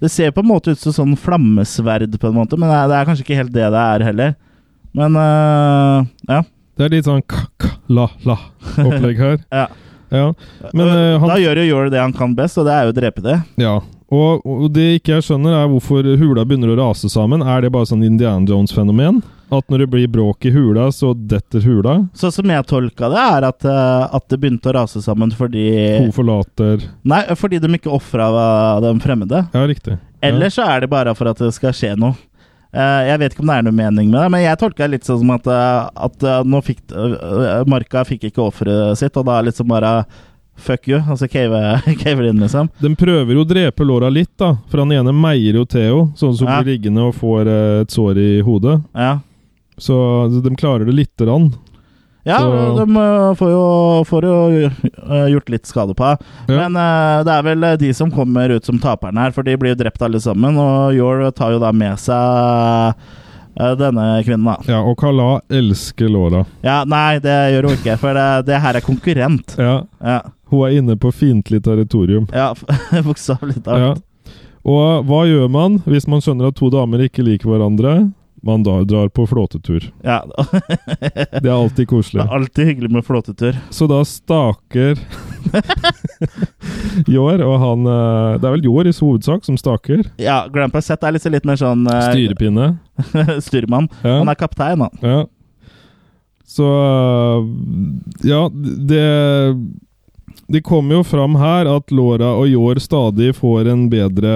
Speaker 2: det ser på en måte ut som sånn flammesverd, på en måte, men det er, det er kanskje ikke helt det det er heller. Men eh, ja.
Speaker 1: Det er litt sånn ka-ka-la-la-opplegg her.
Speaker 2: ja.
Speaker 1: Ja. Men,
Speaker 2: Eh,
Speaker 1: eh, han-
Speaker 2: Da gjør jo Yor det han kan best, og det er jo å drepe det.
Speaker 1: ja. Og, og det ikke jeg skjønner, er hvorfor hula begynner å rase sammen. Er det bare sånn Indiana Jones-fenomen? At når det blir bråk i hula, så detter hula?
Speaker 2: Sånn som jeg tolka det, er at, eh, at det begynte å rase sammen fordi
Speaker 1: Hun forlater
Speaker 2: Nei, fordi eh, de ikke ofra den fremmede.
Speaker 1: Ja, riktig.
Speaker 2: Eller så er det bare for at det skal skje noe. Eh, Jeg vet ikke om det er noe mening med det, men jeg tolka det litt sånn som at, eh, at eh, nå fikk eh, Marka fikk ikke offeret sitt, og da er det liksom bare fuck you, og så caver caver inn, liksom.
Speaker 1: De prøver jo å drepe Laura litt, da. For han ene meier jo Theo, sånn som
Speaker 2: Ja.
Speaker 1: blir liggende og får eh, et sår i hodet.
Speaker 2: Ja.
Speaker 1: Så de klarer det lite grann.
Speaker 2: Ja,
Speaker 1: Så-
Speaker 2: de eh, får jo, får jo eh, gjort litt skade på henne.
Speaker 1: Ja.
Speaker 2: Men eh, det er vel eh, de som kommer ut som taperne her, for de blir jo drept alle sammen. Og Yor tar jo da med seg eh, denne kvinnen, da.
Speaker 1: Ja, og Kala elsker Laura.
Speaker 2: Ja, nei, det gjør hun ikke, for det, det her er konkurrent.
Speaker 1: Ja.
Speaker 2: Ja,
Speaker 1: Hun er inne på fiendtlig territorium.
Speaker 2: ja
Speaker 1: Ja.
Speaker 2: bokstavelig talt.
Speaker 1: Og eh, hva gjør man hvis man skjønner at to damer ikke liker hverandre? Man da drar på flåtetur.
Speaker 2: Ja.
Speaker 1: Det er alltid
Speaker 2: Det
Speaker 1: koselig.
Speaker 2: er alltid hyggelig med flåtetur.
Speaker 1: Så da staker Jår, og han eh, Det er vel Jår i hovedsak som staker.
Speaker 2: Ja, Grandpa Sett er liksom litt mer sånn eh,
Speaker 1: Styrepinne.
Speaker 2: styrmann.
Speaker 1: Ja.
Speaker 2: Han er kaptein, han.
Speaker 1: Ja. Så øh, Ja, det Det kommer jo fram her at Laura og Jår stadig får en bedre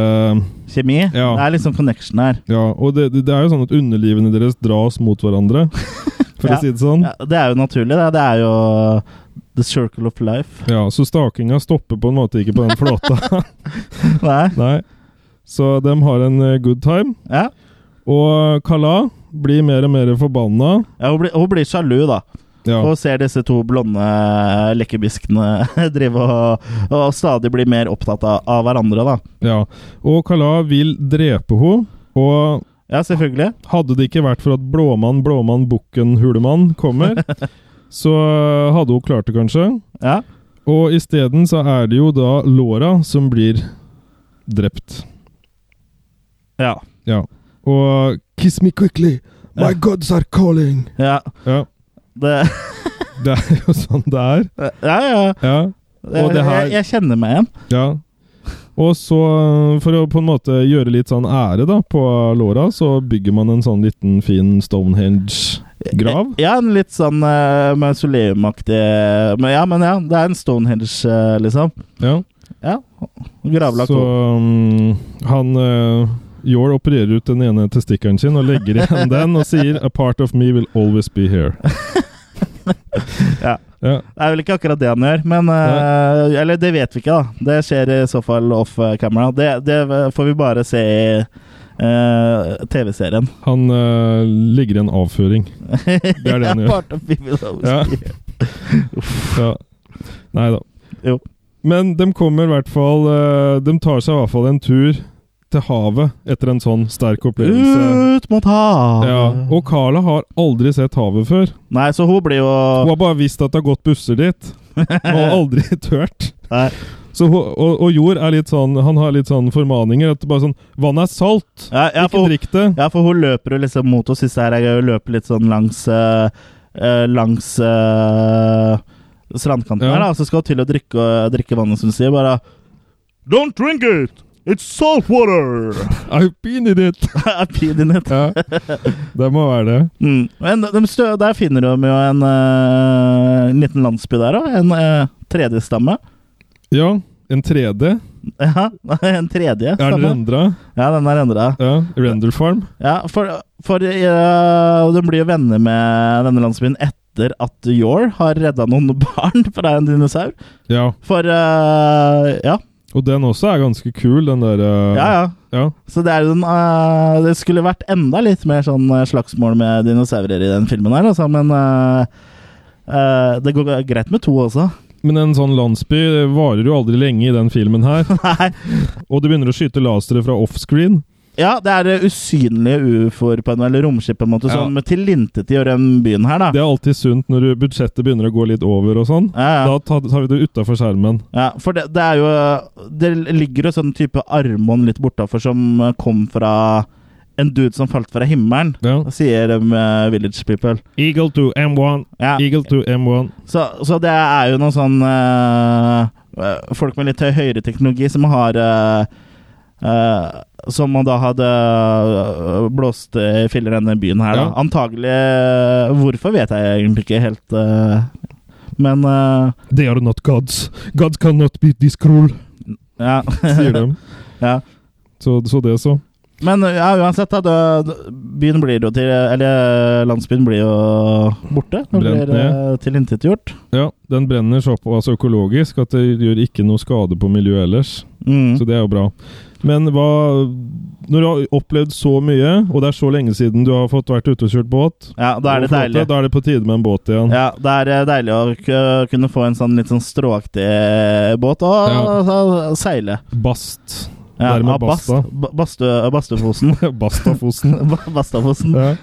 Speaker 2: Kjemi.
Speaker 1: Ja.
Speaker 2: Det er liksom connection her.
Speaker 1: Ja, og det, det er jo sånn at underlivene deres dras mot hverandre, for
Speaker 2: Ja.
Speaker 1: å si det sånn.
Speaker 2: Ja, det er jo naturlig, det. Det er jo the circle of life.
Speaker 1: Ja, Så stakinga stopper på en måte ikke på den flåta.
Speaker 2: Nei?
Speaker 1: Nei. Så de har en eh, good time.
Speaker 2: Ja.
Speaker 1: Og Kala blir mer og mer forbanna.
Speaker 2: Ja, hun, blir, hun blir sjalu, da.
Speaker 1: Ja.
Speaker 2: Hun ser disse to blonde lekkerbiskene drive og, og stadig bli mer opptatt av, av hverandre, da.
Speaker 1: ja. Og Kala vil drepe henne. Og
Speaker 2: Ja, selvfølgelig.
Speaker 1: Hadde det ikke vært for at Blåmann, Blåmann, Bukken, Hulemann kommer, så eh, hadde hun klart det, kanskje.
Speaker 2: Ja.
Speaker 1: Og isteden så er det jo da Laura som blir drept.
Speaker 2: Ja.
Speaker 1: Ja. Og Kiss me quickly! My
Speaker 2: Ja.
Speaker 1: gods are calling!
Speaker 2: Ja.
Speaker 1: Ja,
Speaker 2: Det,
Speaker 1: det er jo sånn det er.
Speaker 2: ja, ja.
Speaker 1: Ja. Og det her-
Speaker 2: Jeg, jeg kjenner meg igjen.
Speaker 1: ja. Og så, eh, for å på en måte gjøre litt sånn ære da på Laura, så bygger man en sånn liten fin Stonehenge-grav.
Speaker 2: Ja, en litt sånn uh, mausoleumaktig men Ja, men ja, det er en Stonehenge, eh, liksom.
Speaker 1: Ja.
Speaker 2: Ja. Gravlagt
Speaker 1: Så
Speaker 2: opp.
Speaker 1: um, han uh, Jor opererer ut den ene testikkelen sin og legger igjen den og sier 'A part of me will always be here'.
Speaker 2: Ja.
Speaker 1: Ja,
Speaker 2: Det er vel ikke akkurat det han gjør, men eh, Eller det vet vi ikke, da. Det skjer i så fall off eh, camera. Det, det får vi bare se i eh, TV-serien.
Speaker 1: han eh, ligger i en avføring. Det er det han gjør.
Speaker 2: Part of People Always
Speaker 1: Ja.
Speaker 2: Be Here.
Speaker 1: Ja. Nei da.
Speaker 2: Jo.
Speaker 1: Men de kommer i hvert fall eh, De tar seg i hvert fall en tur til havet etter en sånn sterk opplevelse.
Speaker 2: Ut mot havet!
Speaker 1: Ja, og Carla har aldri sett havet før.
Speaker 2: Nei, så hun blir jo
Speaker 1: Hun har bare visst at det har gått busser dit, og har aldri tørt.
Speaker 2: Nei.
Speaker 1: Så, ho- og, og Jord er litt sånn Han har litt sånn formaninger. At det bare sånn Vannet er salt!
Speaker 2: Ja, ja,
Speaker 1: Ikke
Speaker 2: for,
Speaker 1: drikk det!
Speaker 2: Ja, for hun løper jo liksom mot oss. Siste her er gøy å løpe litt sånn langs eh, eh, Langs eh, strandkanten
Speaker 1: Ja.
Speaker 2: her, da. Og så skal hun til å drikke, eh, drikke vannet, som hun sier. Bare Don't drink it! It's salt water!
Speaker 1: I've been in it!
Speaker 2: Er pin in it.
Speaker 1: Ja. Det må være det.
Speaker 2: Mm. Men de stø, der finner de jo en eh, en liten landsby der òg. En eh, tredje stamme.
Speaker 1: Ja. En 3D.
Speaker 2: Ja, en tredje
Speaker 1: Er den
Speaker 2: stamme.
Speaker 1: rendra?
Speaker 2: Ja, den er endra.
Speaker 1: Ja. Render Farm.
Speaker 2: Ja, for, for eh, de blir jo venner med denne landsbyen etter at Yor har redda noen barn fra en dinosaur.
Speaker 1: Ja.
Speaker 2: For eh, ja,
Speaker 1: Og den også er ganske kul, den der eh,
Speaker 2: ja, ja.
Speaker 1: ja.
Speaker 2: Så det, er jo den, eh, det skulle vært enda litt mer sånn eh, slagsmål med dinosaurer i den filmen her, altså, men eh, eh, det går greit med to også.
Speaker 1: Men en sånn landsby varer jo aldri lenge i den filmen her.
Speaker 2: Nei.
Speaker 1: Og det begynner å skyte lasere fra offscreen.
Speaker 2: Ja, det er eh, usynlige ufoer på en eller romskip på en måte,
Speaker 1: Ja.
Speaker 2: som tilintetgjør den byen her, da.
Speaker 1: Det er alltid sunt når budsjettet begynner å gå litt over og sånn.
Speaker 2: ja, ja.
Speaker 1: Da tar tar vi det utafor skjermen.
Speaker 2: Ja, for det, det er jo Det ligger jo sånn type armbånd litt bortafor som eh, kom fra en dude som falt fra himmelen,
Speaker 1: Ja.
Speaker 2: sier de eh, Village People.
Speaker 1: Eagle to M1.
Speaker 2: Ja.
Speaker 1: Eagle to M1.
Speaker 2: Så, så det er jo noen sånn eh, eh, Folk med litt høy- høyere teknologi som har eh, eh, Som man da hadde eh, blåst i filler denne byen her, da.
Speaker 1: Ja.
Speaker 2: Antagelig eh, Hvorfor vet jeg egentlig ikke helt, eh, men eh,
Speaker 1: They are not gods. Gods cannot beat this cruel,
Speaker 2: ja.
Speaker 1: sier de.
Speaker 2: ja.
Speaker 1: Så, så det så.
Speaker 2: Men ja, uansett, da. Det, byen blir jo til Eller landsbyen blir jo borte. Den
Speaker 1: Brent
Speaker 2: blir eh, tilintetgjort.
Speaker 1: Ja, den brenner såpass økologisk at det gjør ikke noe skade på miljøet ellers.
Speaker 2: Mm.
Speaker 1: Så det er jo bra. Men hva Når du har opplevd så mye, og det er så lenge siden du har fått vært ute og kjørt båt
Speaker 2: Ja, da er
Speaker 1: og
Speaker 2: det
Speaker 1: flåte,
Speaker 2: deilig.
Speaker 1: Da er det på tide med en båt igjen.
Speaker 2: Ja, det er eh, deilig å k- kunne få en sånn litt sånn stråaktig eh, båt og
Speaker 1: Ja.
Speaker 2: så- seile.
Speaker 1: Bast.
Speaker 2: Ja,
Speaker 1: Dermed
Speaker 2: av bast-
Speaker 1: basta.
Speaker 2: ba- bastu- Bastufosen.
Speaker 1: Bastafosen.
Speaker 2: Ba- Bastafosen.
Speaker 1: ja.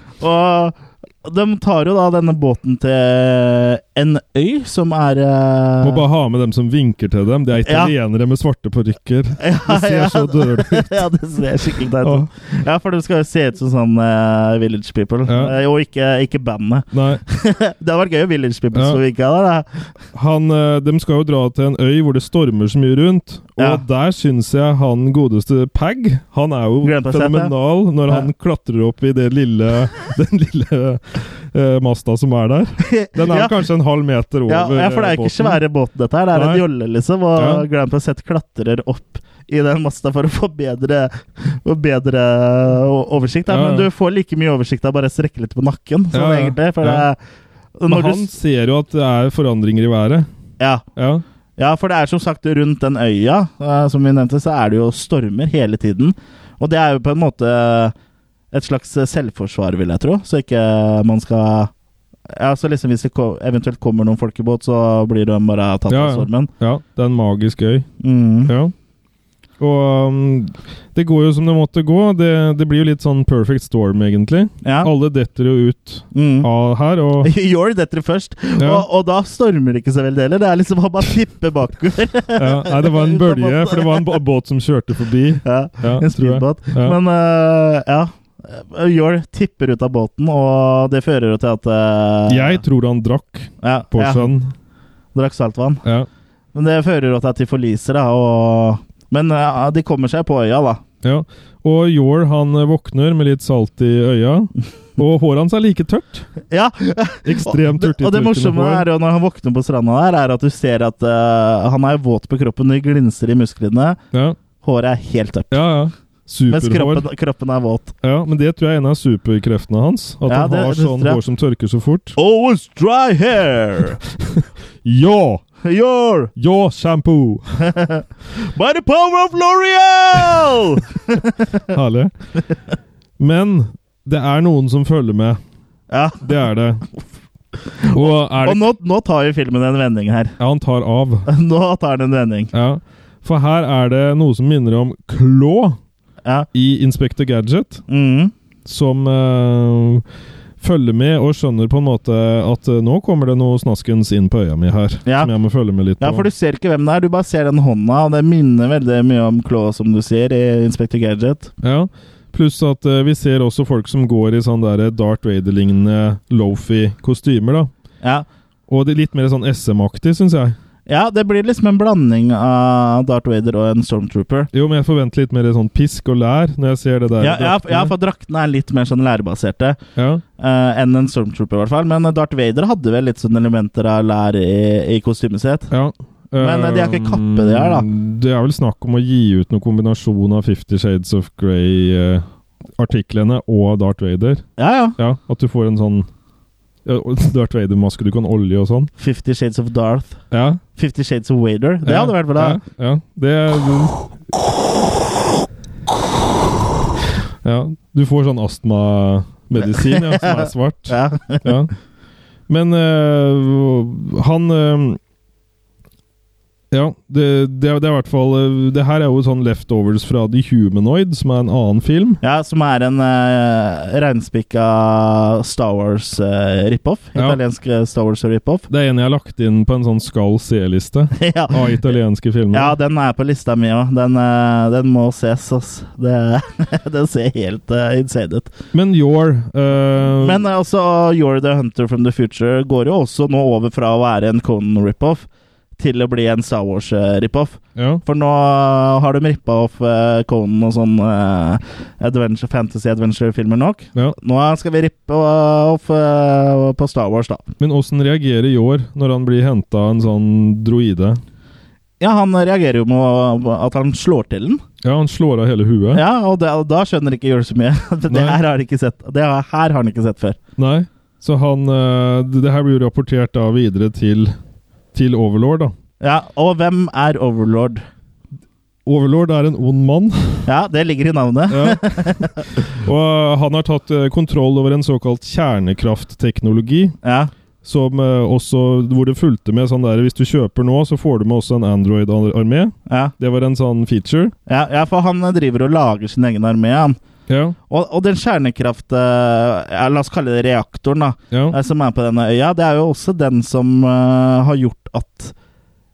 Speaker 2: Og de tar jo da denne båten til en øy som er eh,
Speaker 1: Må bare ha med dem som vinker til dem. Det er
Speaker 2: Ja.
Speaker 1: italienere med svarte parykker.
Speaker 2: ja,
Speaker 1: Det ser så dårlig ut.
Speaker 2: ja, det ser skikkelig teit
Speaker 1: Ja.
Speaker 2: ut. Ja, for det skal jo se ut som sånn eh, Village People.
Speaker 1: Ja.
Speaker 2: Eh, og ikke, ikke bandet.
Speaker 1: Nei.
Speaker 2: det hadde vært gøy om Village People
Speaker 1: Ja.
Speaker 2: sto ikke av der. da.
Speaker 1: Han, eh, de skal jo dra til en øy hvor det stormer så mye rundt. Og
Speaker 2: Ja.
Speaker 1: der syns jeg han godeste Pag Han er jo
Speaker 2: Glemte å si det.
Speaker 1: fenomenal når
Speaker 2: Ja.
Speaker 1: han klatrer opp i det lille, den lille eh, masta som er der. Den er
Speaker 2: ja.
Speaker 1: kanskje en halv meter over eh,
Speaker 2: Ja, ja, for det er jo ikke
Speaker 1: båten.
Speaker 2: svære båten, dette her. Det er
Speaker 1: Nei.
Speaker 2: en jolle, liksom. Og
Speaker 1: Ja.
Speaker 2: Grand Passett klatrer opp i den masta for å få bedre, og bedre eh, o- oversikt. Da.
Speaker 1: Ja,
Speaker 2: Men
Speaker 1: ja.
Speaker 2: du får like mye oversikt av bare å strekke litt på nakken, sånn
Speaker 1: Ja, ja.
Speaker 2: egentlig. For
Speaker 1: Ja.
Speaker 2: det, er-
Speaker 1: Men
Speaker 2: når du,
Speaker 1: han
Speaker 2: s-
Speaker 1: ser jo at det er forandringer i været.
Speaker 2: ja.
Speaker 1: Ja.
Speaker 2: Ja, for det er som sagt rundt den øya, eh, som vi nevnte, så er det jo stormer hele tiden. Og det er jo på en måte eh, et slags eh, selvforsvar, vil jeg tro. Så ikke eh, man skal Ja, så liksom hvis det ko- eventuelt kommer noen folk i båt, så blir de bare tatt
Speaker 1: Ja, ja.
Speaker 2: av stormen.
Speaker 1: ja. Det er en magisk øy.
Speaker 2: Mm.
Speaker 1: Ja. Og um, det går jo som det måtte gå. Det, det blir jo litt sånn perfect storm, egentlig.
Speaker 2: Ja.
Speaker 1: Alle detter jo ut
Speaker 2: Mm.
Speaker 1: av her, og
Speaker 2: Jord detter først,
Speaker 1: Ja.
Speaker 2: og, og da stormer det ikke så veldig heller. Det er liksom å bare tippe bakover.
Speaker 1: ja, Nei, det var en bølge, for det var en bå- båt som kjørte forbi.
Speaker 2: ja.
Speaker 1: Ja,
Speaker 2: En
Speaker 1: tror jeg.
Speaker 2: speedbåt.
Speaker 1: Ja.
Speaker 2: Men eh, ja. Jord tipper ut av båten, og det fører jo til at eh,
Speaker 1: Jeg tror han drakk
Speaker 2: Ja,
Speaker 1: på
Speaker 2: ja,
Speaker 1: sjøen.
Speaker 2: drakk saltvann.
Speaker 1: Ja.
Speaker 2: Men det fører jo til at de forliser, da. Og... Men ja, de kommer seg på øya, da.
Speaker 1: Ja. Og Yor han eh, våkner med litt salt i øya, og håret hans er like tørt.
Speaker 2: Ja,
Speaker 1: Ekstremt
Speaker 2: og,
Speaker 1: tørtig
Speaker 2: og det morsomme er jo når han våkner på stranda der, er at du ser at eh, han er våt på kroppen, det glinser i musklene,
Speaker 1: ja.
Speaker 2: håret er helt tørt.
Speaker 1: ja, ja.
Speaker 2: Mens
Speaker 1: Superhår.
Speaker 2: kroppen, kroppen er våt.
Speaker 1: Ja, men det tror jeg er en av superkreftene hans. At
Speaker 2: Ja,
Speaker 1: han
Speaker 2: det-
Speaker 1: har
Speaker 2: det
Speaker 1: sånn
Speaker 2: tror jeg.
Speaker 1: hår som tørker så fort.
Speaker 2: Always dry hair!
Speaker 1: Ja!
Speaker 2: You're
Speaker 1: Ja, shampoo!
Speaker 2: by the power of L'Oreal!
Speaker 1: Herlig. Men det er noen som følger med.
Speaker 2: ja,
Speaker 1: Det er det. Og er
Speaker 2: og
Speaker 1: det
Speaker 2: nå, nå tar jo filmen en vending her.
Speaker 1: Ja, han tar av.
Speaker 2: Nå tar den en vending.
Speaker 1: Ja. For her er det noe som minner om klå
Speaker 2: Ja.
Speaker 1: i Inspector Gadget,
Speaker 2: Mm.
Speaker 1: som eh, følger med og skjønner på en måte at eh, nå kommer det noe snaskens inn på øya mi her,
Speaker 2: Ja.
Speaker 1: som jeg må følge med litt på.
Speaker 2: Ja, for du ser ikke hvem det er, du bare ser den hånda, og det minner veldig mye om Claw, som du ser i Inspector Gadget.
Speaker 1: Ja. Pluss at eh, vi ser også folk som går i sånn der Darth Vader-lignende lofi kostymer, da.
Speaker 2: Ja.
Speaker 1: Og det er litt mer sånn SM-aktig, syns jeg.
Speaker 2: ja, det blir liksom en blanding av Darth Vader og en Stormtrooper.
Speaker 1: Jo, men jeg forventer litt mer sånn pisk og lær når jeg ser det der.
Speaker 2: Ja, ja, ja, for draktene er litt mer sånn lærbaserte
Speaker 1: Ja.
Speaker 2: eh, enn en Stormtrooper, i hvert fall. Men eh, Darth Vader hadde vel litt sånn elementer av lær i, i kostymet sitt.
Speaker 1: ja.
Speaker 2: Men, eh, de har ikke kappe,
Speaker 1: Um,
Speaker 2: de her, da.
Speaker 1: Det er vel snakk om å gi ut noen kombinasjon av Fifty Shades of Grey-artiklene og Darth Vader.
Speaker 2: Ja, ja.
Speaker 1: Ja, at du får en sånn ja, Darth Vader-maske du kan olje og sånn.
Speaker 2: Fifty Shades of Darth.
Speaker 1: Ja.
Speaker 2: Fifty Shades of Wader. Det
Speaker 1: ja,
Speaker 2: hadde vært bra.
Speaker 1: Ja, ja. Det Ja. Du får sånn astmamedisin, ja, som er svart.
Speaker 2: Ja.
Speaker 1: Ja. Men eh, han eh, Ja, det, det, er- det er i hvert fall eh, Det her er jo sånn leftovers fra The Humanoid, som er en annen film.
Speaker 2: ja, som er en uh, reinspikka Star Wars eh, rip-off.
Speaker 1: Ja.
Speaker 2: Italiensk eh, Star Wars rip-off.
Speaker 1: Det er en jeg har lagt inn på en sånn skal se-liste
Speaker 2: ja.
Speaker 1: av italienske filmer.
Speaker 2: ja, den er på lista mi òg. Den, eh, den må ses, ass. Det, den ser helt eh, insane ut.
Speaker 1: Men Your eh,
Speaker 2: Men eh, altså, You're the Hunter from the Future går jo også nå over fra å være en Conan rip-off til å bli en Star Wars eh, rip-off.
Speaker 1: ja,
Speaker 2: For nå har de rippa off eh, Conan og sånn eh, adventure, fantasy adventure-filmer nok.
Speaker 1: ja.
Speaker 2: Nå eh, skal vi rippe off eh, på Star Wars, da.
Speaker 1: Men åssen reagerer Your når han blir henta en sånn droide?
Speaker 2: Ja, han reagerer jo med å- at han slår til den.
Speaker 1: Ja, han slår av hele huet.
Speaker 2: Ja, og, det, og da skjønner ikke Jørn så mye. Det
Speaker 1: Nei.
Speaker 2: her har han ikke sett Det her har han ikke sett før.
Speaker 1: Nei. Så han eh, Det det her blir jo rapportert da videre til, til Overlord, da.
Speaker 2: Ja, Og hvem er Overlord?
Speaker 1: Overlord er en ond mann,
Speaker 2: Ja, det ligger i navnet.
Speaker 1: ja. og eh, han har tatt eh, kontroll over en såkalt kjernekraftteknologi.
Speaker 2: Ja,
Speaker 1: Som eh, også, hvor det fulgte med sånn der Hvis du kjøper nå, så får du med også en Android-armé.
Speaker 2: ja,
Speaker 1: Det var en sånn feature.
Speaker 2: ja, ja for han driver og lager sin egen armé, han.
Speaker 1: Ja,
Speaker 2: Og, og den kjernekraft... eh, Ja, la oss kalle det reaktoren, da.
Speaker 1: ja.
Speaker 2: eh, Som er på denne øya. Det er jo også den som eh, har gjort at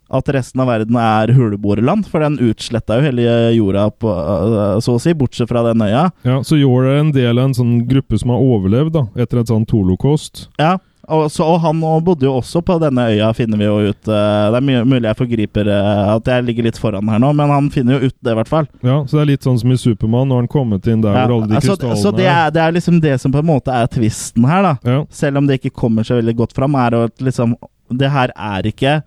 Speaker 2: at resten av verden er huleboerland, for den utsletta jo hele jorda, på, eh, så å si, bortsett fra den øya.
Speaker 1: ja. Så Yor er en del av en sånn gruppe som har overlevd da, etter et sånt holocaust.
Speaker 2: Ja, og, så, og han og bodde jo også på denne øya, finner vi jo ut. eh, Det er mye- mulig jeg forgriper eh, at jeg ligger litt foran her nå, men han finner jo ut det, i hvert fall.
Speaker 1: Ja, Så det er litt sånn som i Supermann, når han kommet inn der
Speaker 2: Ja, altså,
Speaker 1: hvor alle de
Speaker 2: så
Speaker 1: krystallene
Speaker 2: så det, er, det er liksom det som på en måte er tvisten her, da.
Speaker 1: ja.
Speaker 2: Selv om det ikke kommer så veldig godt fram, er jo at liksom Det her er ikke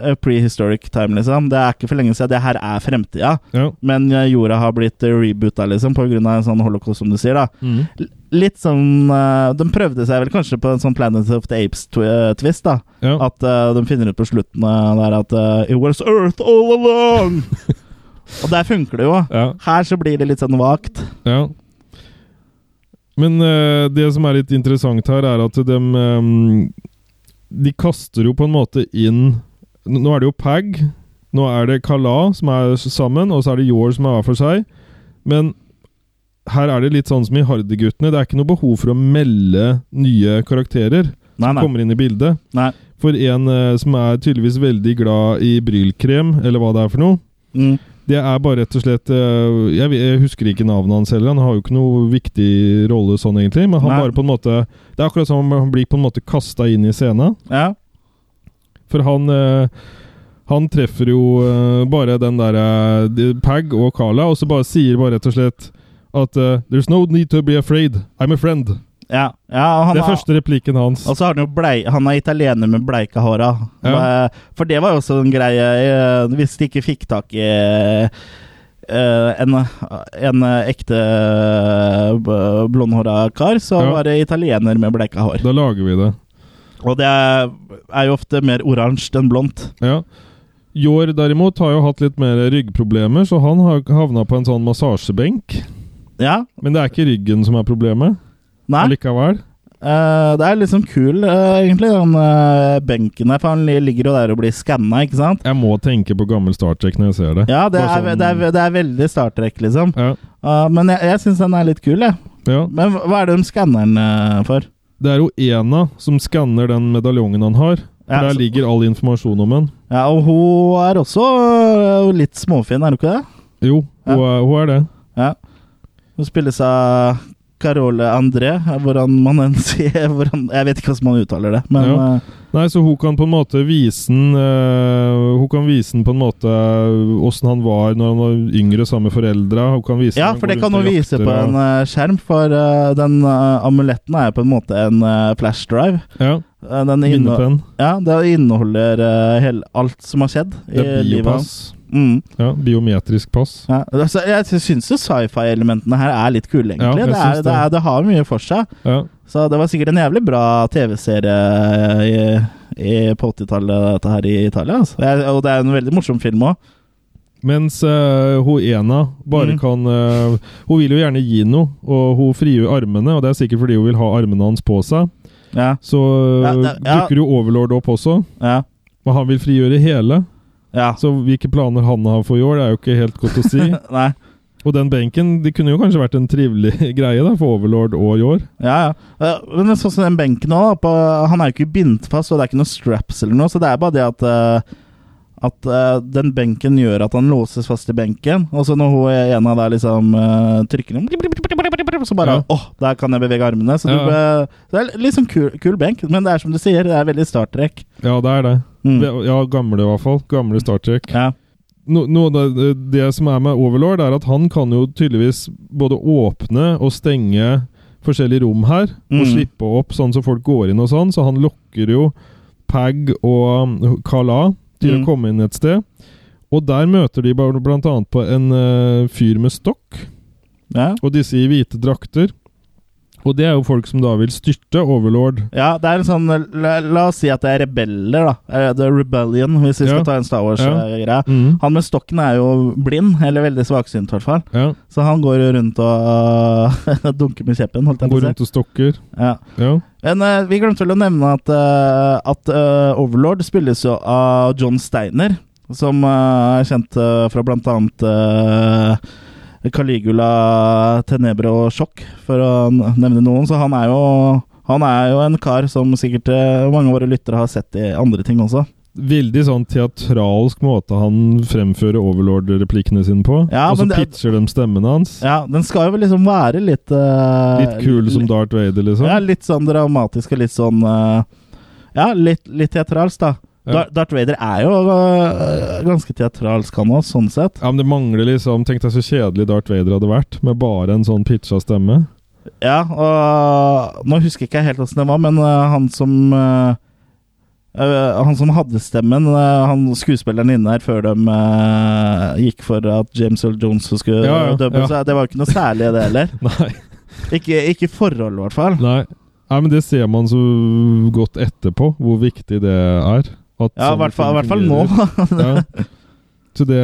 Speaker 2: eh, prehistoric time, liksom. Det er ikke for lenge siden. Det her er fremtida.
Speaker 1: ja.
Speaker 2: Men eh, jorda har blitt eh, reboota, liksom, på grunn av en sånn holocaust, som du sier, da.
Speaker 1: Mm.
Speaker 2: L- Litt sånn eh, De prøvde seg vel kanskje på en sånn Planet of the Apes-twist, da.
Speaker 1: ja.
Speaker 2: At eh, de finner ut på slutten eh, der at eh, It was Earth all along! og der funker det jo.
Speaker 1: ja.
Speaker 2: Her så blir det litt sånn vagt.
Speaker 1: Ja. Men eh, det som er litt interessant her, er at de De kaster jo på en måte inn N- Nå er det jo Pag, nå er det Kala som er s- sammen, og så er det Yor som er hver for seg. Men her er det litt sånn som i Hardy-guttene. Det er ikke noe behov for å melde nye karakterer
Speaker 2: Nei, nei.
Speaker 1: kommer inn i bildet.
Speaker 2: Nei.
Speaker 1: For en eh, som er tydeligvis veldig glad i Brylkrem, eller hva det er for noe,
Speaker 2: Mm.
Speaker 1: det er bare rett og slett øh, Jeg, vet- jeg husker ikke navnet hans heller. Han har jo ikke noe viktig rolle sånn, egentlig. Men han
Speaker 2: Nei.
Speaker 1: bare på en måte Det er akkurat som om han blir på en måte kasta inn i scenen.
Speaker 2: Ja.
Speaker 1: For han øh, Han treffer jo øh, bare den derre Pag og Carla, og så bare sier bare rett og slett at øh, There's no need to be afraid. I'm a friend.
Speaker 2: ja. ja og han
Speaker 1: det er
Speaker 2: har- Altså-
Speaker 1: første replikken hans.
Speaker 2: Og så har han jo blei, Han er italiener med bleika håra.
Speaker 1: Ja.
Speaker 2: Eh, For det var jo også en greie eh, Hvis de ikke fikk tak i eh, en, en ekte eh, b- blondhåra kar, så
Speaker 1: Ja.
Speaker 2: var det italiener med bleika hår.
Speaker 1: Da lager vi det.
Speaker 2: Og det er er jo ofte mer oransje enn blondt.
Speaker 1: Ja. Jår derimot har jo hatt litt mer ryggproblemer, så han har havna på en sånn massasjebenk.
Speaker 2: Ja.
Speaker 1: Men det er ikke ryggen som er problemet.
Speaker 2: Nei.
Speaker 1: Allikevel.
Speaker 2: Eh, det er liksom kul, eh, egentlig, den eh, benken der. For han li- ligger jo der og blir skanna, ikke sant?
Speaker 1: Jeg må tenke på gammel Star Trek når jeg ser det.
Speaker 2: Ja, det
Speaker 1: Bare
Speaker 2: er,
Speaker 1: sånn-
Speaker 2: det er, det er veldig starttrekk, liksom.
Speaker 1: Ja.
Speaker 2: Eh, men jeg, jeg syns den er litt kul, jeg.
Speaker 1: ja.
Speaker 2: Men hva- hva er det de skanner den eh, for?
Speaker 1: Det er jo Ena som skanner den medaljongen han har. For
Speaker 2: Ja,
Speaker 1: Der
Speaker 2: så-
Speaker 1: ligger all informasjon om han.
Speaker 2: Ja, og hun er også eh, litt småfin, er hun ikke det?
Speaker 1: Jo, hun, er, hun er det.
Speaker 2: Ja. Hun spilles av Carole André, eh, hvordan man enn sier hvordan, Jeg vet ikke hvordan man uttaler det, men
Speaker 1: Ja.
Speaker 2: eh,
Speaker 1: Nei, så hun kan på en måte vise den eh, Hun kan vise den på en måte eh, åssen han var når han var yngre sammen med foreldra. Hun kan vise
Speaker 2: ja,
Speaker 1: når han
Speaker 2: for
Speaker 1: går
Speaker 2: det kan
Speaker 1: rundt
Speaker 2: hun
Speaker 1: og
Speaker 2: vise
Speaker 1: jakter
Speaker 2: på
Speaker 1: og-
Speaker 2: en eh, skjerm, for eh, den eh, amuletten er jo på en måte en eh, flash drive.
Speaker 1: Ja,
Speaker 2: Eh, Den inne,
Speaker 1: minnepenn.
Speaker 2: ja, det inneholder eh, hel, alt som har skjedd i
Speaker 1: Det er
Speaker 2: livet
Speaker 1: biopass.
Speaker 2: hans. Mm.
Speaker 1: Ja, biometrisk pass.
Speaker 2: Ja, altså, jeg syns jo sci-fi-elementene her er litt kule,
Speaker 1: Ja,
Speaker 2: egentlig.
Speaker 1: jeg
Speaker 2: det,
Speaker 1: syns
Speaker 2: er,
Speaker 1: det.
Speaker 2: det, er, det har mye for seg.
Speaker 1: Ja.
Speaker 2: Så det var sikkert en jævlig bra TV-serie eh, i, i, på 80-tallet, dette her i Italia. Altså. Det er, og det er en veldig morsom film òg.
Speaker 1: Mens eh, hun ena bare
Speaker 2: Mm.
Speaker 1: kan eh, Hun vil jo gjerne gi noe, og hun frigjør armene. Og det er sikkert fordi hun vil ha armene hans på seg.
Speaker 2: Ja,
Speaker 1: Så
Speaker 2: Ja,
Speaker 1: eh,
Speaker 2: det- ja.
Speaker 1: dukker jo Overlord opp også,
Speaker 2: ja,
Speaker 1: men han vil frigjøre hele.
Speaker 2: ja.
Speaker 1: Så hvilke planer han har for i år, det er jo ikke helt godt å si.
Speaker 2: Nei.
Speaker 1: og den benken det kunne jo kanskje vært en trivelig greie da, for Overlord og i år.
Speaker 2: Ja, ja. Eh, Men sånn som den benken òg, han er jo ikke bindt fast, og det er ikke noe straps eller noe, så det er bare det at eh, at eh, den benken gjør at han låses fast i benken, og så når hun ena der liksom eh, trykker den Så bare
Speaker 1: Ja.
Speaker 2: åh, der kan jeg bevege armene. Så du,
Speaker 1: Ja.
Speaker 2: eh, det er litt sånn kul, kul benk, men det er som du sier, det er veldig starttrekk.
Speaker 1: Ja, det er det.
Speaker 2: Mm.
Speaker 1: Det- Ja, gamle i hvert fall. Gamle Star Trek.
Speaker 2: Ja.
Speaker 1: no, noe av det, det som er med Overlord, er at han kan jo tydeligvis både åpne og stenge forskjellige rom her, og
Speaker 2: Mm.
Speaker 1: slippe opp sånn så folk går inn og sånn, så han lokker jo Pag og um, Kala til
Speaker 2: Mm.
Speaker 1: å komme inn et sted. Og der møter de bar- blant annet på en eh, fyr med stokk,
Speaker 2: Ja.
Speaker 1: og disse i hvite drakter. Og det er jo folk som da vil styrte Overlord.
Speaker 2: ja, det er en sånn La, la oss si at det er rebeller, da. Eh, The Rebellion, hvis vi
Speaker 1: Ja.
Speaker 2: skal ta en Star eh, Wars-greie.
Speaker 1: Mm.
Speaker 2: Han med stokken er jo blind, eller veldig svaksynt i hvert fall.
Speaker 1: Ja,
Speaker 2: Så han går jo rundt og dunker med kjeppen, holdt
Speaker 1: han
Speaker 2: jeg på
Speaker 1: går
Speaker 2: å si.
Speaker 1: rundt og stokker.
Speaker 2: Ja.
Speaker 1: Ja.
Speaker 2: Men eh, vi glemte vel å nevne at, eh, at eh, Overlord spilles jo av John Steiner, som eh, er kjent eh, fra blant annet eh, Caligula, Tenebre og Sjokk, for å n- nevne noen. Så han er jo han er jo en kar som sikkert eh, mange av våre lyttere har sett i andre ting også.
Speaker 1: Veldig sånn teatralsk måte han fremfører Overlord-replikkene sine på.
Speaker 2: Ja,
Speaker 1: og så
Speaker 2: men det-
Speaker 1: pitcher de stemmen hans.
Speaker 2: Ja, Den skal jo vel liksom være litt eh,
Speaker 1: Litt kul som Darth Vader, liksom.
Speaker 2: Ja, litt sånn dramatisk og litt sånn eh, Ja, litt, litt teatralsk, da.
Speaker 1: Ja.
Speaker 2: Dar- Darth Vader er jo eh, ganske teatralsk, han òg, sånn sett.
Speaker 1: Ja, men det mangler liksom Tenk deg så kjedelig Darth Vader hadde vært, med bare en sånn pitcha stemme.
Speaker 2: Ja, og nå husker jeg ikke helt åssen det var, men eh, han som eh, eh, han som hadde stemmen, eh, han skuespilleren inne her før de eh, gikk for at James Earl Jones skulle
Speaker 1: Ja, ja,
Speaker 2: dubbe,
Speaker 1: ja.
Speaker 2: så det var jo ikke noe særlig i det heller.
Speaker 1: Nei.
Speaker 2: Ikke, ikke i forhold, i hvert fall.
Speaker 1: Nei. Nei, men det ser man så godt etterpå, hvor viktig det er. At sånne
Speaker 2: Ja, i hvert
Speaker 1: ting
Speaker 2: fall, i hvert fall nå.
Speaker 1: fungerer. Ja. Så det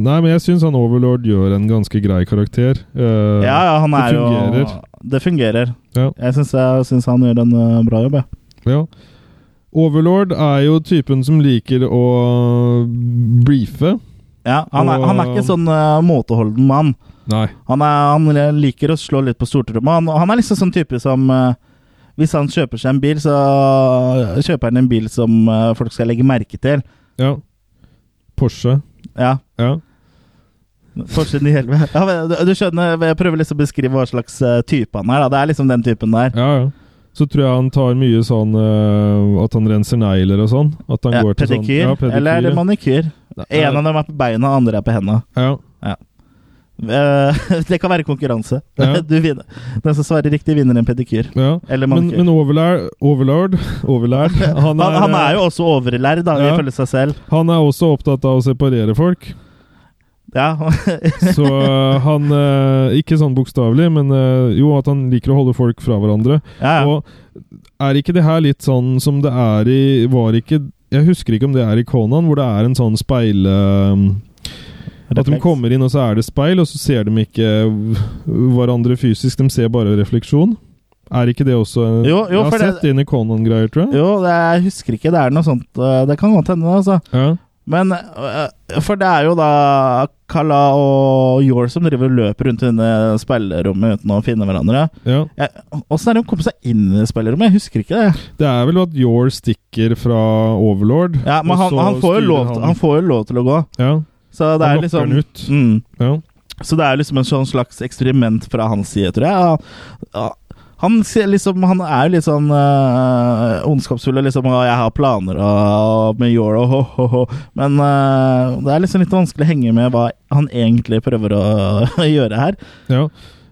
Speaker 1: Nei, men jeg syns han Overlord gjør en ganske grei karakter. Eh,
Speaker 2: Ja, ja, han
Speaker 1: Det
Speaker 2: er jo
Speaker 1: fungerer.
Speaker 2: Det fungerer.
Speaker 1: Ja.
Speaker 2: Jeg syns jeg syns han gjør en eh, bra jobb, jeg.
Speaker 1: Ja. Overlord er jo typen som liker å briefe.
Speaker 2: Ja, han, er, han er ikke en sånn eh, måteholden mann.
Speaker 1: Nei.
Speaker 2: Han, er, han liker å slå litt på stortromma. Han, han er liksom sånn type som eh, Hvis han kjøper seg en bil, så eh, kjøper han en bil som eh, folk skal legge merke til.
Speaker 1: Ja. Porsche.
Speaker 2: Ja,
Speaker 1: Ja.
Speaker 2: Forsiden i helvete. Ja, men du, du skjønner, jeg prøver liksom å beskrive hva slags eh, type han er. da Det er liksom den typen der.
Speaker 1: ja, ja. Så tror jeg han tar mye sånn eh, At han renser negler og sånn. At han
Speaker 2: Ja,
Speaker 1: går til
Speaker 2: pedikyr,
Speaker 1: sånn ja,
Speaker 2: eller
Speaker 1: ja.
Speaker 2: manikyr. En av dem er på beina, andre er på henda.
Speaker 1: ja.
Speaker 2: Eh, det kan være konkurranse.
Speaker 1: Ja.
Speaker 2: Du vinner. Den som svarer riktig, vinner en pedikyr.
Speaker 1: ja.
Speaker 2: Eller
Speaker 1: Men,
Speaker 2: manikyr.
Speaker 1: men Overlord, Overlord, Overlord han,
Speaker 2: han,
Speaker 1: er,
Speaker 2: han, er jo også overlærd, da,
Speaker 1: Ja.
Speaker 2: ifølge seg selv.
Speaker 1: han er også opptatt av å separere folk.
Speaker 2: Ja,
Speaker 1: Så eh, han eh, Ikke sånn bokstavelig, men eh, jo, at han liker å holde folk fra hverandre.
Speaker 2: ja, ja.
Speaker 1: Og er ikke det her litt sånn som det er i Var ikke Jeg husker ikke om det er i Conan, hvor det er en sånn speil... ehm, At de
Speaker 2: Refleks.
Speaker 1: kommer inn, og så er det speil, og så ser de ikke eh, hverandre fysisk. De ser bare refleksjon. Er ikke det også en-
Speaker 2: Jo, jo,
Speaker 1: Jeg har
Speaker 2: for det-
Speaker 1: sett det inn i Conan-greier, tror jeg.
Speaker 2: Jo, det, jeg husker ikke. Det er noe sånt. øh, Det kan godt hende, altså.
Speaker 1: Ja.
Speaker 2: Men øh, For det er jo da Kalla og Yor som driver og løper rundt inne i spillerommet uten å finne hverandre.
Speaker 1: ja.
Speaker 2: Åssen er det hun kom seg inn i spillerommet? Jeg husker ikke det.
Speaker 1: Det er vel at Yor stikker fra Overlord.
Speaker 2: Ja, Men
Speaker 1: og
Speaker 2: han,
Speaker 1: så
Speaker 2: han, får jo
Speaker 1: styrer
Speaker 2: lov, han får jo lov til å gå.
Speaker 1: ja,
Speaker 2: Så det
Speaker 1: han
Speaker 2: er
Speaker 1: lokker
Speaker 2: liksom
Speaker 1: den ut.
Speaker 2: Mm.
Speaker 1: Ja.
Speaker 2: Så det er liksom en sånn slags eksperiment fra hans side, tror jeg. Ja, Han, ser liksom, han er jo litt sånn øh, ondskapsfull og liksom «Å, 'Jeg har planer og, og med Yoro, ho, ho, ho. Men øh, det er liksom litt vanskelig å henge med hva han egentlig prøver å gjøre her.
Speaker 1: Ja,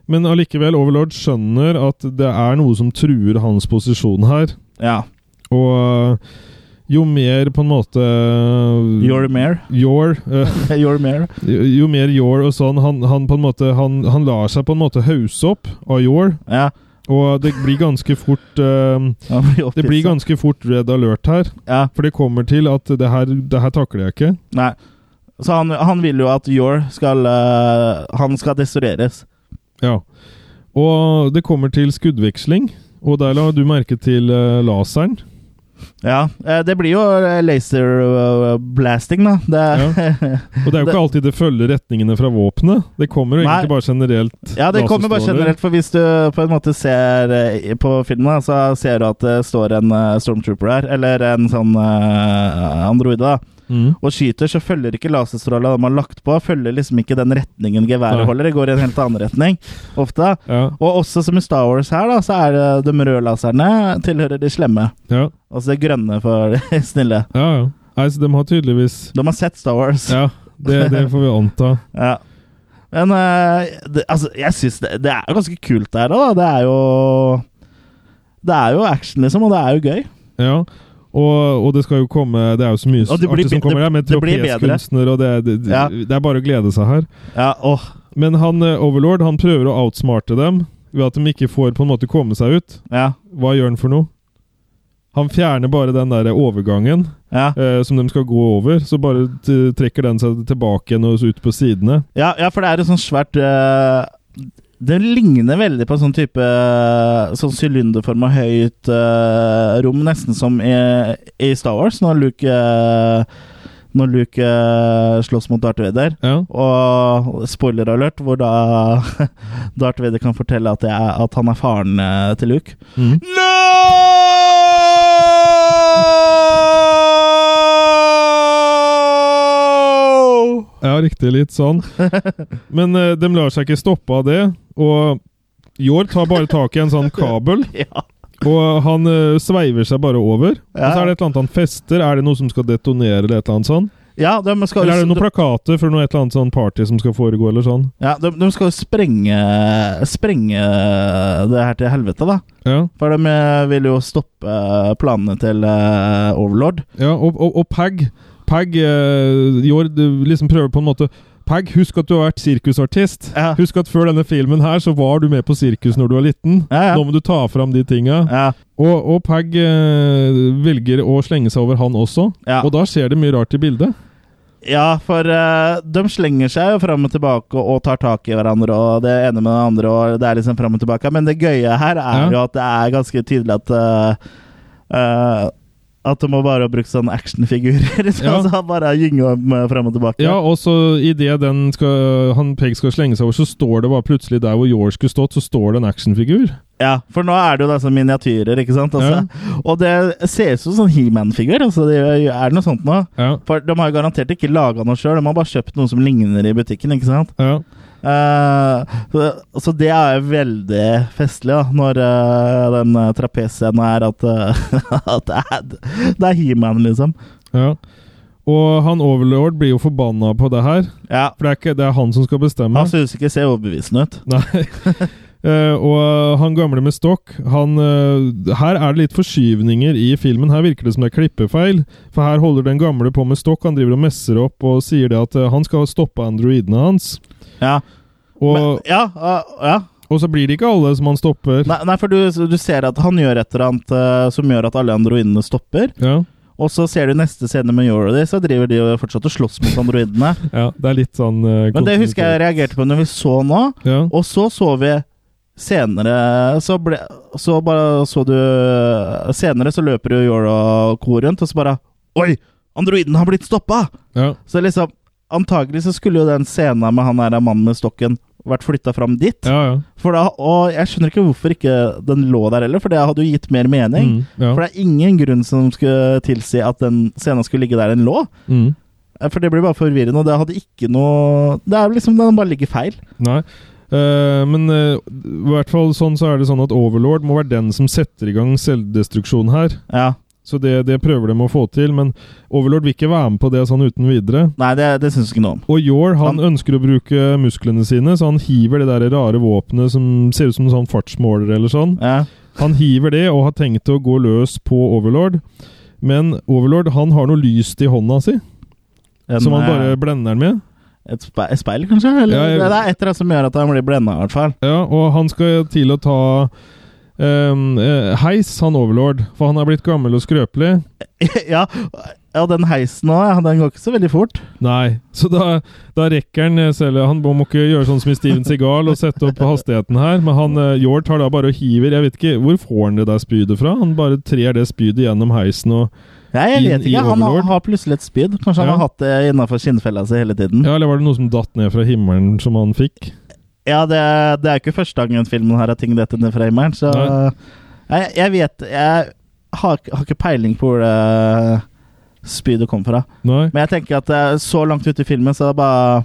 Speaker 1: men allikevel, Overlord skjønner at det er noe som truer hans posisjon her.
Speaker 2: Ja.
Speaker 1: Og øh, jo mer på en måte øh,
Speaker 2: You're mayor.
Speaker 1: Yor, øh,
Speaker 2: You're mayor.
Speaker 1: jo, jo mer Yor og sånn han, han på en måte han, han lar seg på en måte hausse opp av Yor,
Speaker 2: Ja.
Speaker 1: og det blir ganske fort øh,
Speaker 2: han blir
Speaker 1: Det blir
Speaker 2: opphisset.
Speaker 1: ganske fort red alert her,
Speaker 2: ja.
Speaker 1: for det kommer til at det her, det her takler jeg ikke.
Speaker 2: Nei. Så han, han vil jo at Yor skal øh, Han skal destrueres.
Speaker 1: Ja. Og det kommer til skuddveksling, og der la du merke til øh, laseren.
Speaker 2: Ja. eh, Det blir jo eh, laser øh, blasting, da. Det,
Speaker 1: Og det er jo ikke alltid det følger retningene fra våpenet. Det kommer jo
Speaker 2: Nei.
Speaker 1: egentlig bare generelt.
Speaker 2: Ja, det kommer bare
Speaker 1: laserstråler.
Speaker 2: generelt, for hvis du på en måte ser eh, på filmen, da, så ser du at det står en eh, stormtrooper her, eller en sånn eh, androide, da,
Speaker 1: Mm.
Speaker 2: og skyter, så følger ikke laserstråla de har lagt på, følger liksom ikke den retningen
Speaker 1: Nei.
Speaker 2: geværet holder, det går i en helt annen retning, ofte.
Speaker 1: Ja,
Speaker 2: Og også som i Star Wars her, da, så er det de røde laserne tilhører de slemme,
Speaker 1: ja,
Speaker 2: og så det grønne for de snille.
Speaker 1: ja. ja. Nei, så de har tydeligvis
Speaker 2: De har sett Star Wars.
Speaker 1: Ja, det, det får vi anta.
Speaker 2: Ja. Men eh, det, altså, jeg syns det, det er ganske kult det her òg, da. Det er jo Det er jo action, liksom, og det er jo gøy.
Speaker 1: Ja. Og, og det skal jo komme Det er jo så mye
Speaker 2: Og det blir
Speaker 1: artig som
Speaker 2: be-
Speaker 1: kommer
Speaker 2: det-
Speaker 1: der, med
Speaker 2: det blir bedre.
Speaker 1: trapeskunstner og det, det, det,
Speaker 2: Ja.
Speaker 1: det er bare å glede seg her.
Speaker 2: Ja, åh.
Speaker 1: Men han eh, Overlord han prøver å outsmarte dem ved at de ikke får på en måte komme seg ut.
Speaker 2: Ja.
Speaker 1: Hva gjør han for noe? Han fjerner bare den der overgangen
Speaker 2: Ja.
Speaker 1: eh, som de skal gå over. Så bare t trekker den seg tilbake igjen og ut på sidene.
Speaker 2: Ja, ja, for det er et sånt svært eh, Det ligner veldig på en sånn type eh, Sånn sylinderforma høyt eh, rom, nesten som i, i Star Wars, når Luke, eh, når Luke eh, slåss mot Darth Vader.
Speaker 1: Ja.
Speaker 2: Og spoiler alert, hvor da Darth Vader kan fortelle at, det er, at han er faren eh, til Luke.
Speaker 1: Mhm.
Speaker 2: No!
Speaker 1: Ja, riktig. Litt sånn. Men eh, de lar seg ikke stoppe av det. Og Jord tar bare tak i en sånn kabel,
Speaker 2: Ja.
Speaker 1: og han eh, sveiver seg bare over. Og
Speaker 2: Ja.
Speaker 1: så er det et eller annet han fester. Er det noe som skal detonere, eller et eller annet sånn?
Speaker 2: ja, de skal
Speaker 1: Eller er det noen plakater for noe et eller annet sånn party som skal foregå, eller sånn?
Speaker 2: Ja, de, de skal jo sprenge, sprenge det her til helvete, da.
Speaker 1: Ja,
Speaker 2: For de eh, vil jo stoppe eh, planene til eh, Overlord.
Speaker 1: ja og, og, og Pag Pag eh, Jord eh, liksom prøver på en måte Pag, husk at du har vært sirkusartist.
Speaker 2: Ja.
Speaker 1: Husk at før denne filmen her, så var du med på sirkus når du var liten.
Speaker 2: Ja, ja.
Speaker 1: Nå må du ta fram de tinga.
Speaker 2: Ja,
Speaker 1: Og, og Pag eh, velger å slenge seg over han også,
Speaker 2: Ja.
Speaker 1: og da skjer det mye rart i bildet.
Speaker 2: ja for eh, de slenger seg jo fram og tilbake og tar tak i hverandre og det ene med det andre, og det er liksom fram og tilbake. Men det gøye her er
Speaker 1: Ja.
Speaker 2: jo at det er ganske tydelig at eh, eh, At de må bare bruke sånne actionfigurer. Så,
Speaker 1: Ja.
Speaker 2: så bare gynge dem fram og tilbake.
Speaker 1: Ja, og så idet den skal, han Peg skal slenge seg over, så står det bare plutselig der hvor Yor skulle stått, så står det en actionfigur.
Speaker 2: Ja, for nå er det jo disse miniatyrer, ikke sant? Altså. Og det ser ut som sånn He-Man-figur. Altså, det er noe sånt nå.
Speaker 1: Ja,
Speaker 2: For de har jo garantert ikke laga noe sjøl, de har bare kjøpt noe som ligner i butikken. ikke sant?
Speaker 1: ja.
Speaker 2: Eh, så, så det er jo veldig festlig, da, når eh, den eh, trapesscenen er at, eh, at det er, det er He-Man, liksom.
Speaker 1: Ja. Og han Overlord blir jo forbanna på det her,
Speaker 2: Ja,
Speaker 1: for det er, ikke, det er han som skal bestemme.
Speaker 2: Han synes ikke ser overbevisende ut.
Speaker 1: Nei. Eh, og han gamle med stokk han, eh, Her er det litt forskyvninger i filmen. Her virker det som det er klippefeil. For her holder den gamle på med stokk. Han driver og messer opp og sier det at eh, han skal stoppe androidene hans.
Speaker 2: Ja,
Speaker 1: Og,
Speaker 2: Men, ja, eh, ja.
Speaker 1: og så blir det ikke alle som han stopper.
Speaker 2: Nei, nei, for du, du ser at han gjør et eller annet eh, som gjør at alle androidene stopper.
Speaker 1: Ja,
Speaker 2: Og så ser du neste scene med Yorody, så driver de jo fortsatt og slåss mot androidene.
Speaker 1: ja, det er litt sånn eh,
Speaker 2: Men det husker jeg reagerte på når vi så nå,
Speaker 1: Ja.
Speaker 2: og så så vi senere Så, ble, så bare så du Senere så løper jo Yoro-ko rundt, og så bare Oi! Androiden har blitt stoppa!
Speaker 1: ja.
Speaker 2: Så liksom Antagelig så skulle jo den scenen med han der mannen med stokken vært flytta fram dit.
Speaker 1: Ja, ja.
Speaker 2: For da, og jeg skjønner ikke hvorfor ikke den lå der heller, for det hadde jo gitt mer mening.
Speaker 1: Mm, ja.
Speaker 2: For det er ingen grunn som skulle tilsi at den scenen skulle ligge der den lå.
Speaker 1: Mm.
Speaker 2: Eh, For det blir bare forvirrende, og det hadde ikke noe Det er liksom den bare ligger feil.
Speaker 1: Nei. Eh, men eh, i hvert fall sånn så er det sånn at Overlord må være den som setter i gang selvdestruksjon her.
Speaker 2: Ja.
Speaker 1: Så det, det prøver de å få til, men Overlord vil ikke være med på det sånn uten videre.
Speaker 2: Nei, det, det syns ikke noe om.
Speaker 1: Og Yor han,
Speaker 2: Han-
Speaker 1: ønsker å bruke musklene sine, så han hiver det der rare våpenet som ser ut som en sånn fartsmåler eller sånn.
Speaker 2: Ja.
Speaker 1: Han hiver det og har tenkt å gå løs på Overlord. Men Overlord han har noe lyst i hånda si,
Speaker 2: En,
Speaker 1: som han bare
Speaker 2: eh,
Speaker 1: blender den med.
Speaker 2: Et, spe, et speil, kanskje? Eller,
Speaker 1: Ja, jeg-
Speaker 2: Det er et eller annet som gjør at han blir blenda, i hvert fall.
Speaker 1: Ja, og han skal til å ta ehm, eh, heis, han Overlord, for han er blitt gammel og skrøpelig.
Speaker 2: ja, og den heisen òg, ja, den går ikke så veldig fort.
Speaker 1: Nei, så da, da rekker han eh, selv Han må må ikke gjøre sånn som i Steven Seagal og sette opp hastigheten her, men han eh, Hjort tar da bare og hiver Jeg vet ikke, hvor får han det der spydet fra? Han bare trer det spydet gjennom heisen og
Speaker 2: Nei, jeg
Speaker 1: Inn
Speaker 2: vet
Speaker 1: i
Speaker 2: ikke. Han har,
Speaker 1: Overlord.
Speaker 2: har plutselig et spyd. Kanskje han
Speaker 1: Ja.
Speaker 2: har hatt det innafor skinnfella si hele tiden. Ja,
Speaker 1: Ja, eller var det noe som datt ned fra himmelen som han fikk?
Speaker 2: det, det er ikke første gangen filmen her har ting dette ned fra himmelen, så
Speaker 1: Nei.
Speaker 2: Nei, jeg, jeg vet Jeg har, ikke- har ikke peiling på hvor det spydet kom fra.
Speaker 1: Nei?
Speaker 2: Men jeg tenker at eh, så langt ute i filmen, så er det bare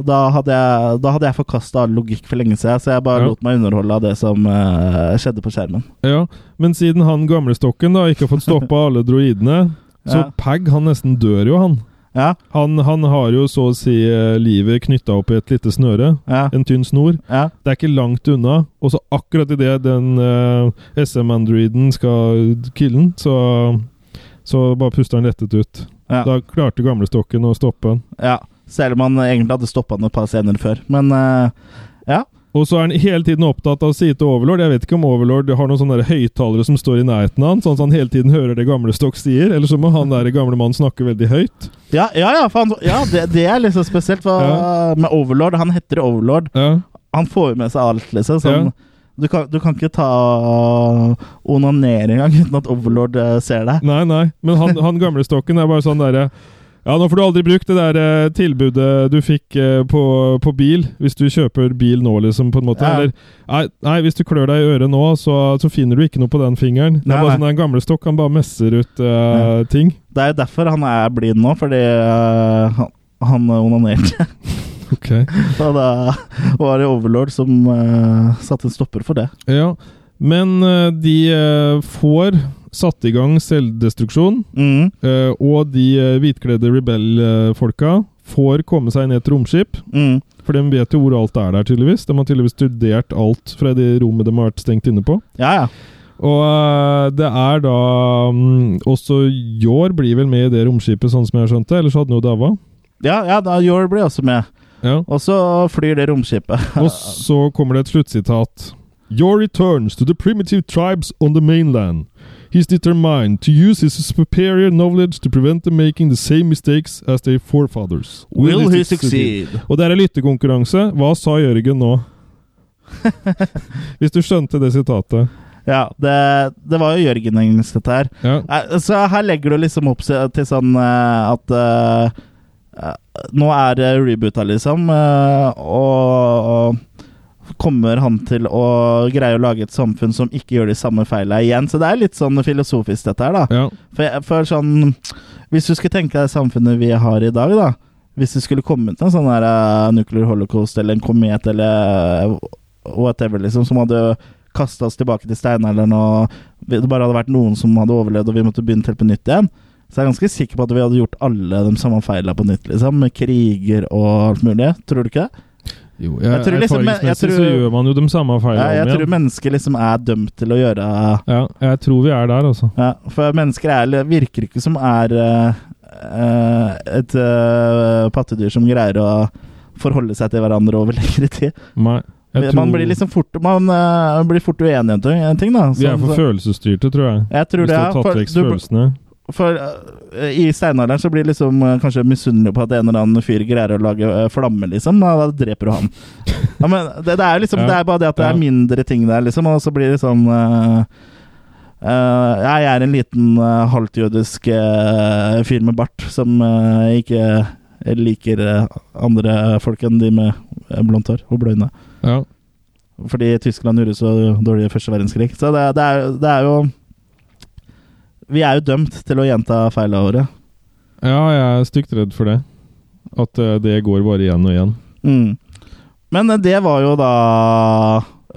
Speaker 2: da hadde jeg, da hadde jeg forkasta all logikk for lenge siden, så jeg bare
Speaker 1: Ja.
Speaker 2: lot meg underholde av det som eh, skjedde på skjermen.
Speaker 1: Ja, men siden han gamlestokken da ikke har fått stoppa alle droidene, så
Speaker 2: Ja.
Speaker 1: Pag han nesten dør jo, han.
Speaker 2: Ja,
Speaker 1: Han, han har jo så å si eh, livet knytta opp i et lite snøre.
Speaker 2: ja,
Speaker 1: En tynn snor.
Speaker 2: ja.
Speaker 1: Det er ikke langt unna. Og så akkurat idet den eh, SM-androiden skal kille den, så så bare pusta han lettet ut.
Speaker 2: Ja.
Speaker 1: Da klarte gamlestokken å stoppe han.
Speaker 2: Ja, selv om han egentlig hadde stoppa han et par scener før. Men eh, ja.
Speaker 1: Og så er han hele tiden opptatt av å si til Overlord Jeg vet ikke om Overlord har noen sånne der høyttalere som står i nærheten av han, sånn at han hele tiden hører det gamlestokk sier, eller så må han der gamle mannen snakke veldig høyt.
Speaker 2: Ja, ja, ja, for han, ja det, det er liksom spesielt hva, med Overlord. Han heter Overlord.
Speaker 1: Ja.
Speaker 2: Han får jo med seg alt, liksom. Sånn,
Speaker 1: Ja.
Speaker 2: du, kan, du kan ikke ta onanere engang uten at Overlord eh, ser deg.
Speaker 1: Nei, nei. Men han, han gamlestokken er bare sånn derre Ja, nå får du aldri brukt det der eh, tilbudet du fikk eh, på, på bil, hvis du kjøper bil nå, liksom, på en måte.
Speaker 2: Ja.
Speaker 1: Eller nei, nei, hvis du klør deg i øret nå, så, så finner du ikke noe på den fingeren. Det
Speaker 2: Nei,
Speaker 1: er bare
Speaker 2: nei.
Speaker 1: sånn at en gamlestokk han bare messer ut eh, ting.
Speaker 2: Det er jo derfor han er blind nå, fordi eh, han, han onanerte.
Speaker 1: Ok.
Speaker 2: Og da var det Overlord som eh, satte en stopper for det.
Speaker 1: Ja. Men eh, de eh, får satt i gang selvdestruksjon,
Speaker 2: Mm,
Speaker 1: eh, og de eh, hvitkledde rebell-folka får komme seg ned til romskip.
Speaker 2: mm.
Speaker 1: For de vet jo hvor alt er der, tydeligvis. De har tydeligvis studert alt fra det rommet de har vært stengt inne på.
Speaker 2: Ja, ja.
Speaker 1: Og øh, det er da mm, Også Jår blir vel med i det romskipet, sånn som jeg har skjønt det. Ellers hadde han jo daua.
Speaker 2: Ja, ja, da Yor blir også med.
Speaker 1: Ja.
Speaker 2: Og så flyr det romskipet.
Speaker 1: Og så kommer det et sluttsitat. Your returns to the primitive tribes on the mainland. He's determined to use his superior knowledge to prevent them making the same mistakes as their forefathers. Og det er en lyttekonkurranse. Hva sa Jørgen nå? Hvis du skjønte det sitatet.
Speaker 2: Ja, det, det var jo Jørgen engelsk, dette her.
Speaker 1: Ja.
Speaker 2: Nei, Så her legger du liksom opp se- til sånn eh, at eh, eh, Nå er det reboota, liksom. eh, og, og kommer han til å greie å lage et samfunn som ikke gjør de samme feila igjen? Så det er litt sånn filosofisk, dette her, da.
Speaker 1: ja.
Speaker 2: For, jeg- for sånn Hvis du skulle tenke deg samfunnet vi har i dag, da Hvis det skulle kommet en sånn her eh, nuclear holocaust eller en komet eller eh, whatever, liksom, som hadde kasta oss tilbake til steinalderen, og vi- det bare hadde vært noen som hadde overlevd, og vi måtte begynne helt på nytt igjen, så jeg er ganske sikker på at vi hadde gjort alle de samme feila på nytt, liksom. Med kriger og alt mulig. Tror du ikke det?
Speaker 1: Jo,
Speaker 2: Jeg tror liksom- jeg- jeg
Speaker 1: erfaringsmessig så
Speaker 2: tror-
Speaker 1: gjør man jo de samme feilene
Speaker 2: Jeg, jeg
Speaker 1: om
Speaker 2: tror
Speaker 1: igjen.
Speaker 2: mennesker liksom er dømt til å gjøre
Speaker 1: Ja, jeg tror vi er der, altså.
Speaker 2: Ja, for mennesker er, virker ikke som er eh, eh, et eh, pattedyr som greier å forholde seg til hverandre over lengre tid.
Speaker 1: Nei. Jeg
Speaker 2: man
Speaker 1: tror
Speaker 2: blir liksom fort, man, eh, blir fort uenig om ting, ting da.
Speaker 1: vi er
Speaker 2: Sånn,
Speaker 1: for
Speaker 2: så-
Speaker 1: følelsesstyrte, tror jeg.
Speaker 2: jeg tror
Speaker 1: Hvis du
Speaker 2: det, ja.
Speaker 1: har tatt
Speaker 2: For,
Speaker 1: vekk
Speaker 2: du,
Speaker 1: følelsene.
Speaker 2: for eh, I steinalderen så blir liksom eh, kanskje misunnelig på at en eller annen fyr greier å lage eh, flamme, liksom. Da, da dreper du han. ja, men det, det er jo liksom
Speaker 1: Ja.
Speaker 2: Det er bare det at det
Speaker 1: Ja.
Speaker 2: er mindre ting der, liksom, og så blir det sånn eh, eh, Jeg er en liten eh, halvtjødisk eh, fyr med bart som eh, ikke liker eh, andre folk enn de med eh, blondt hår og blå øyne.
Speaker 1: Ja.
Speaker 2: Fordi Tyskland gjorde så dårlig i første verdenskrig. Så det, det, er, det er jo Vi er jo dømt til å gjenta feila våre.
Speaker 1: ja, jeg er stygt redd for det. At eh, det går bare igjen og igjen.
Speaker 2: Mm. Men eh, det var jo da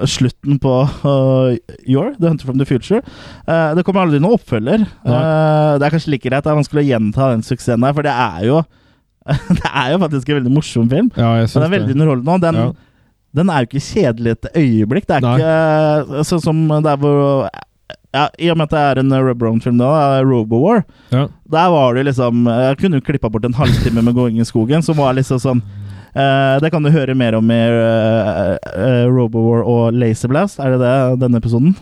Speaker 2: slutten på uh, Your, The Hunter from the Future. Eh, det kommer aldri noen oppfølger. Eh, det er kanskje like greit at man skulle gjenta den suksessen der, for det er jo Det er jo faktisk en veldig morsom film.
Speaker 1: Ja, jeg
Speaker 2: Men den
Speaker 1: syns
Speaker 2: er veldig
Speaker 1: det.
Speaker 2: underholdende. Og den,
Speaker 1: Ja.
Speaker 2: den er jo ikke kjedelig et øyeblikk. Det er
Speaker 1: Nei.
Speaker 2: ikke eh, sånn som der hvor ja, I og med at det er en Rubberon-film nå, eh, Robowar,
Speaker 1: Ja.
Speaker 2: der var det liksom Jeg kunne jo klippa bort en halvtime med gåing i skogen, som var liksom sånn eh, Det kan du høre mer om i eh, eh, Robowar og Laserblast. Er det det denne episoden?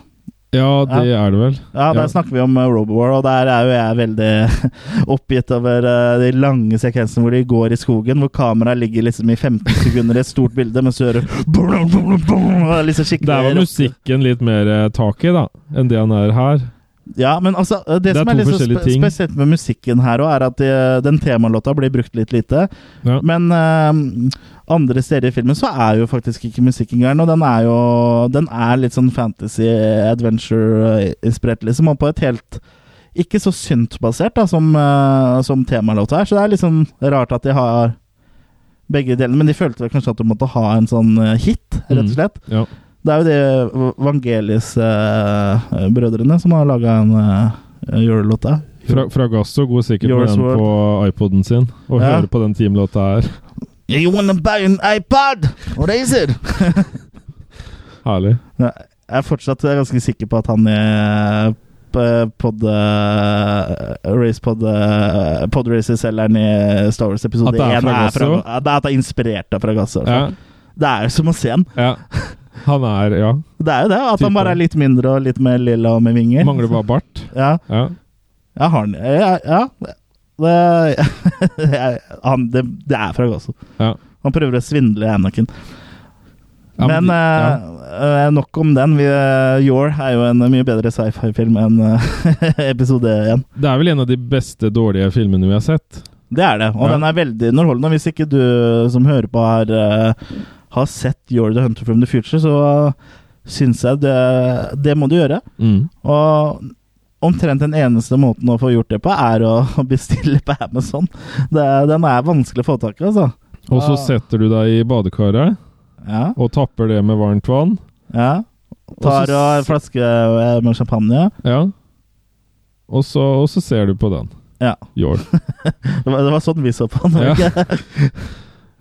Speaker 1: ja, det er det vel.
Speaker 2: Ja, der
Speaker 1: Ja.
Speaker 2: snakker vi om eh, Robowar, og der er jo jeg veldig oppgitt over eh, de lange sekvensene hvor de går i skogen, hvor kameraet ligger liksom i 15 sekunder i et stort bilde, mens du hører brum, brum, brum, og liksom skikkelig
Speaker 1: Der var
Speaker 2: rock.
Speaker 1: musikken litt mer eh, tak i, da, enn det han er her.
Speaker 2: Ja, men altså, det,
Speaker 1: er
Speaker 2: som
Speaker 1: to
Speaker 2: er litt så
Speaker 1: forskjellige
Speaker 2: spe
Speaker 1: ting.
Speaker 2: spesielt med musikken her òg, er at eh, den temalåta blir brukt litt lite.
Speaker 1: Ja.
Speaker 2: Men eh, andre steder i filmen så er jo faktisk ikke musikken gæren, og den er jo Den er litt sånn fantasy adventure-inspirert, liksom, og på et helt ikke så synt-basert da, som, eh, som temalåta er, så det er liksom rart at de har begge delene, men de følte vel kanskje at de måtte ha en sånn eh, hit, rett og
Speaker 1: Mm.
Speaker 2: slett.
Speaker 1: Ja.
Speaker 2: Det eh, er jo de Vangelis-brødrene eh, som har laga en eh, jølelåt der.
Speaker 1: Fra, Fragasso går sikkert med
Speaker 2: Yours
Speaker 1: den
Speaker 2: World.
Speaker 1: på iPoden sin, og
Speaker 2: Ja.
Speaker 1: hører på den teamlåta her.
Speaker 2: You wanna buy an iPod? What is it?
Speaker 1: Herlig.
Speaker 2: Jeg er fortsatt ganske sikker på at han i eh, pod, eh, race pod, eh, pod Racer-selgeren i Star Wars episode
Speaker 1: At det er
Speaker 2: 1
Speaker 1: fra Gasso?
Speaker 2: at det er at det er inspirert av Fragasso.
Speaker 1: Ja,
Speaker 2: Det er jo som å se han.
Speaker 1: ja. Han er Ja.
Speaker 2: Det er jo det, at han
Speaker 1: Typen.
Speaker 2: bare er litt mindre og litt mer lilla og med vinger.
Speaker 1: Mangler bare bart.
Speaker 2: Ja,
Speaker 1: Ja.
Speaker 2: ja har han Ja. ja. Det, han, det, det er Fragasso.
Speaker 1: Ja.
Speaker 2: Han prøver å svindle Anakin.
Speaker 1: Ja,
Speaker 2: men
Speaker 1: ja.
Speaker 2: eh, eh, nok om den. Vi, eh, Your er jo en mye bedre sci-fi-film enn eh, episode 1.
Speaker 1: Det er vel en av de beste dårlige filmene vi har sett.
Speaker 2: Det er det, og
Speaker 1: Ja.
Speaker 2: den er veldig underholdende. Hvis ikke du som hører på har, eh, har sett Your the Hunter from the Future, så eh, syns jeg det, det må du gjøre.
Speaker 1: Mm.
Speaker 2: Og omtrent den eneste måten å få gjort det på, er å bestille på Amazon. Det, den er vanskelig å få tak i, altså.
Speaker 1: Og så
Speaker 2: Ah.
Speaker 1: setter du deg i badekaret
Speaker 2: Ja,
Speaker 1: og tapper det med varmt vann.
Speaker 2: ja.
Speaker 1: Og
Speaker 2: Tar
Speaker 1: så-
Speaker 2: og en flaske eh, med champagne.
Speaker 1: Ja. Og så, og så ser du på den.
Speaker 2: Ja.
Speaker 1: Jål.
Speaker 2: Det var, det var sånn vi så på den. var det ikke?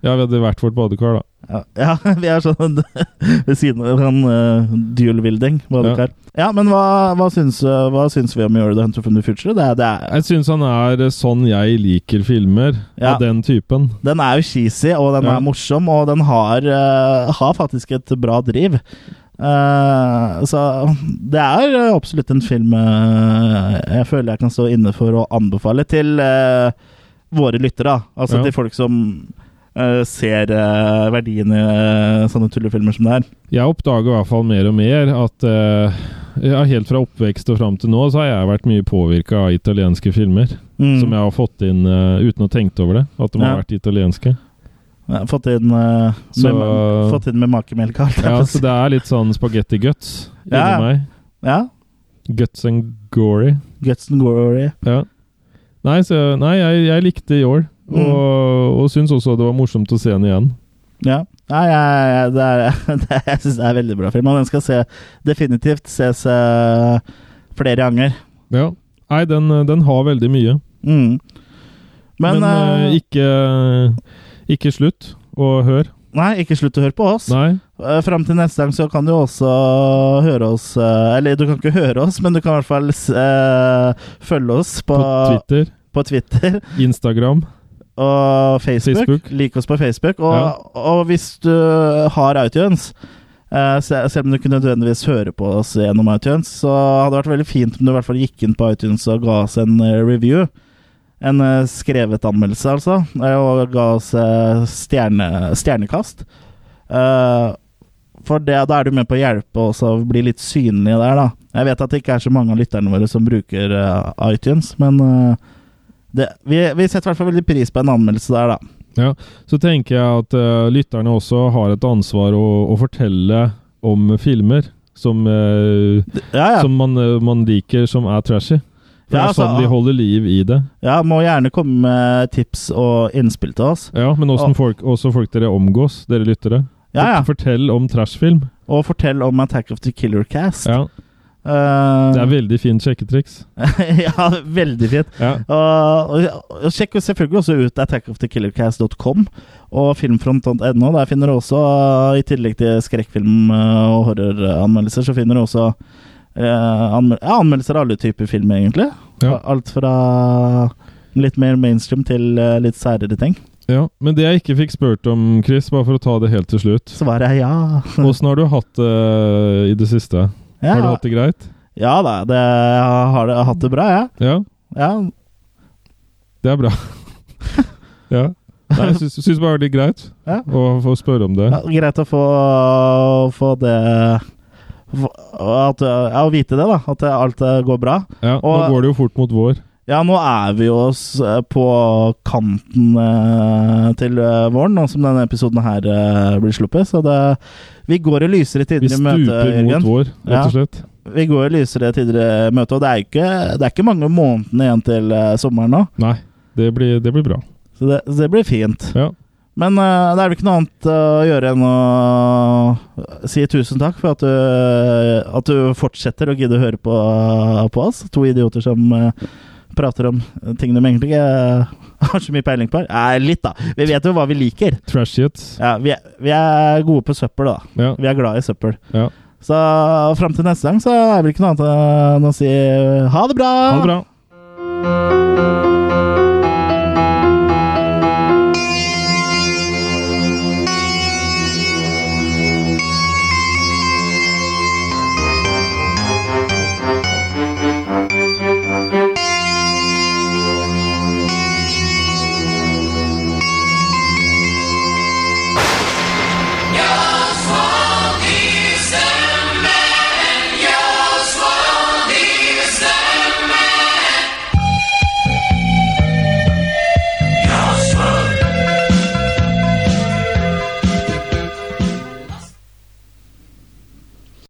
Speaker 1: Ja, vi hadde hvert vårt badekar, da.
Speaker 2: Ja, ja, vi er sånn ved siden av han uh, dual-wielding.
Speaker 1: Ja.
Speaker 2: Ja. ja, men hva, hva, syns, eh, hva syns vi om You're the Hunter from the Future? Det er, det er,
Speaker 1: Jeg syns han er eh, sånn jeg liker filmer.
Speaker 2: Ja.
Speaker 1: Av den typen.
Speaker 2: den er jo cheesy, og den
Speaker 1: Ja.
Speaker 2: er morsom, og den har, eh, har faktisk et bra driv. Eh, så det er eh, absolutt en film eh, jeg føler jeg kan stå inne for å anbefale til eh, våre lyttere. da. Altså
Speaker 1: Ja.
Speaker 2: til folk som eh, ser eh, verdien i eh, sånne tullefilmer som det her.
Speaker 1: Jeg oppdager i hvert fall mer og mer at eh, ja, Helt fra oppvekst og fram til nå så har jeg vært mye påvirka av italienske filmer.
Speaker 2: Mm.
Speaker 1: Som jeg har fått inn eh, uten å tenke over det. At de
Speaker 2: Ja.
Speaker 1: har vært italienske.
Speaker 2: Ja, fått inn eh,
Speaker 1: Så-
Speaker 2: med, Fått inn med makemelk og alt.
Speaker 1: Ja,
Speaker 2: Ja,
Speaker 1: så det er litt sånn spagetti guts inni
Speaker 2: Ja.
Speaker 1: meg.
Speaker 2: ja.
Speaker 1: Guts and gory.
Speaker 2: Guts and glory.
Speaker 1: Ja. Nei, så, nei jeg, jeg likte i år.
Speaker 2: Mm.
Speaker 1: Og, og syns også det var morsomt å se den igjen.
Speaker 2: Ja. Nei, jeg, jeg- det er, det er, jeg syns det er veldig bra film. Og den skal se, definitivt ses eh, flere ganger.
Speaker 1: Ja. Nei, den, eh, den har veldig mye.
Speaker 2: Mm. Men,
Speaker 1: Men, eh,
Speaker 2: eh,
Speaker 1: ikke, ikke slutt å høre.
Speaker 2: Nei, ikke slutt å høre på oss.
Speaker 1: Nei.
Speaker 2: Uh, Fram til neste gang så kan du også høre oss eh, Eller du kan ikke høre oss, men du kan i hvert fall eh, følge oss på,
Speaker 1: På Twitter,
Speaker 2: på Twitter.
Speaker 1: Instagram.
Speaker 2: og Facebook.
Speaker 1: Facebook.
Speaker 2: Lik oss på Facebook. Og,
Speaker 1: Ja.
Speaker 2: og hvis du har iTunes, eh, se- selv om du ikke nødvendigvis hører på oss gjennom iTunes, så hadde det vært veldig fint om du i hvert fall gikk inn på iTunes og ga oss en eh, review. En eh, skrevet anmeldelse, altså. eh, Og ga oss eh, stjerne, stjernekast. Eh, for det, da er du med på å hjelpe oss å bli litt synlige der, da. Jeg vet at det ikke er så mange av lytterne våre som bruker eh, iTunes, men eh, det, vi, vi setter i hvert fall veldig pris på en anmeldelse der, da.
Speaker 1: Så tenker jeg at eh, lytterne også har et ansvar å, å fortelle om filmer som, eh,
Speaker 2: Ja, ja.
Speaker 1: som man, eh, man liker, som er trashy. For det
Speaker 2: Ja,
Speaker 1: er sånn
Speaker 2: altså,
Speaker 1: vi holder liv i det.
Speaker 2: ja må gjerne komme med tips og innspill til oss.
Speaker 1: Ja, Men åssen folk, også folk dere omgås, dere lyttere.
Speaker 2: Ah. Ja, ja.
Speaker 1: Fortell om trashfilm.
Speaker 2: Og fortell om Attack of the Killer Cast.
Speaker 1: Ja,
Speaker 2: Eh,
Speaker 1: det er veldig fint sjekketriks.
Speaker 2: ja, veldig fint.
Speaker 1: Ja.
Speaker 2: Og, og, og sjekk jo selvfølgelig også ut attackofthekillercast.com og filmfront.no. Der finner du også, eh, i tillegg til skrekkfilm- eh, og horroranmeldelser, så finner du også eh, anmel ja, anmeldelser av alle typer film, egentlig.
Speaker 1: Ja.
Speaker 2: Alt fra litt mer mainstream til eh, litt særere ting.
Speaker 1: Ja, Men det jeg ikke fikk spurt om, Chris, bare for å ta det helt til slutt
Speaker 2: Svaret er ja.
Speaker 1: Åssen har du hatt det i det siste?
Speaker 2: Ja,
Speaker 1: Har du hatt det greit?
Speaker 2: ja da, det, jeg har, jeg har hatt det bra, jeg.
Speaker 1: Ja,
Speaker 2: Ja.
Speaker 1: det er bra. ja. Nei, jeg syns, syns bare det er greit
Speaker 2: Ja.
Speaker 1: å få spørre om det.
Speaker 2: Ja, greit å få, få det få- at, ja, Å vite det, da. At det- alt eh, går bra.
Speaker 1: Ja, Nå
Speaker 2: Og-
Speaker 1: går det jo fort mot vår.
Speaker 2: Ja, nå er vi jo s- på kanten eh, til eh, våren, nå som denne episoden her eh, blir sluppet. Så det Vi går i lysere
Speaker 1: Vi
Speaker 2: tider i møte,
Speaker 1: stuper mot
Speaker 2: Jørgen.
Speaker 1: vår, rett
Speaker 2: Ja.
Speaker 1: og slett.
Speaker 2: Vi går i lysere tider i møte, og det er ikke, det er ikke mange månedene igjen til eh, sommeren nå.
Speaker 1: Nei, det blir, det blir bra.
Speaker 2: Så det, så det blir fint.
Speaker 1: Ja.
Speaker 2: Men eh, det er vel ikke noe annet eh, å gjøre enn å eh, si tusen takk for at du, eh, at du fortsetter å gidde å høre på, eh, på oss. To idioter som eh, prater om ting de egentlig ikke eh, har så mye peiling på. Nei, litt, da. Vi vet jo hva vi liker.
Speaker 1: Trash it.
Speaker 2: Ja, vi, er, vi er gode på søppel, da.
Speaker 1: Ja.
Speaker 2: Vi er glad i søppel.
Speaker 1: Ja.
Speaker 2: Så fram til neste gang så er det vel ikke noe annet enn å si ha det eh, bra!
Speaker 1: Ha det bra.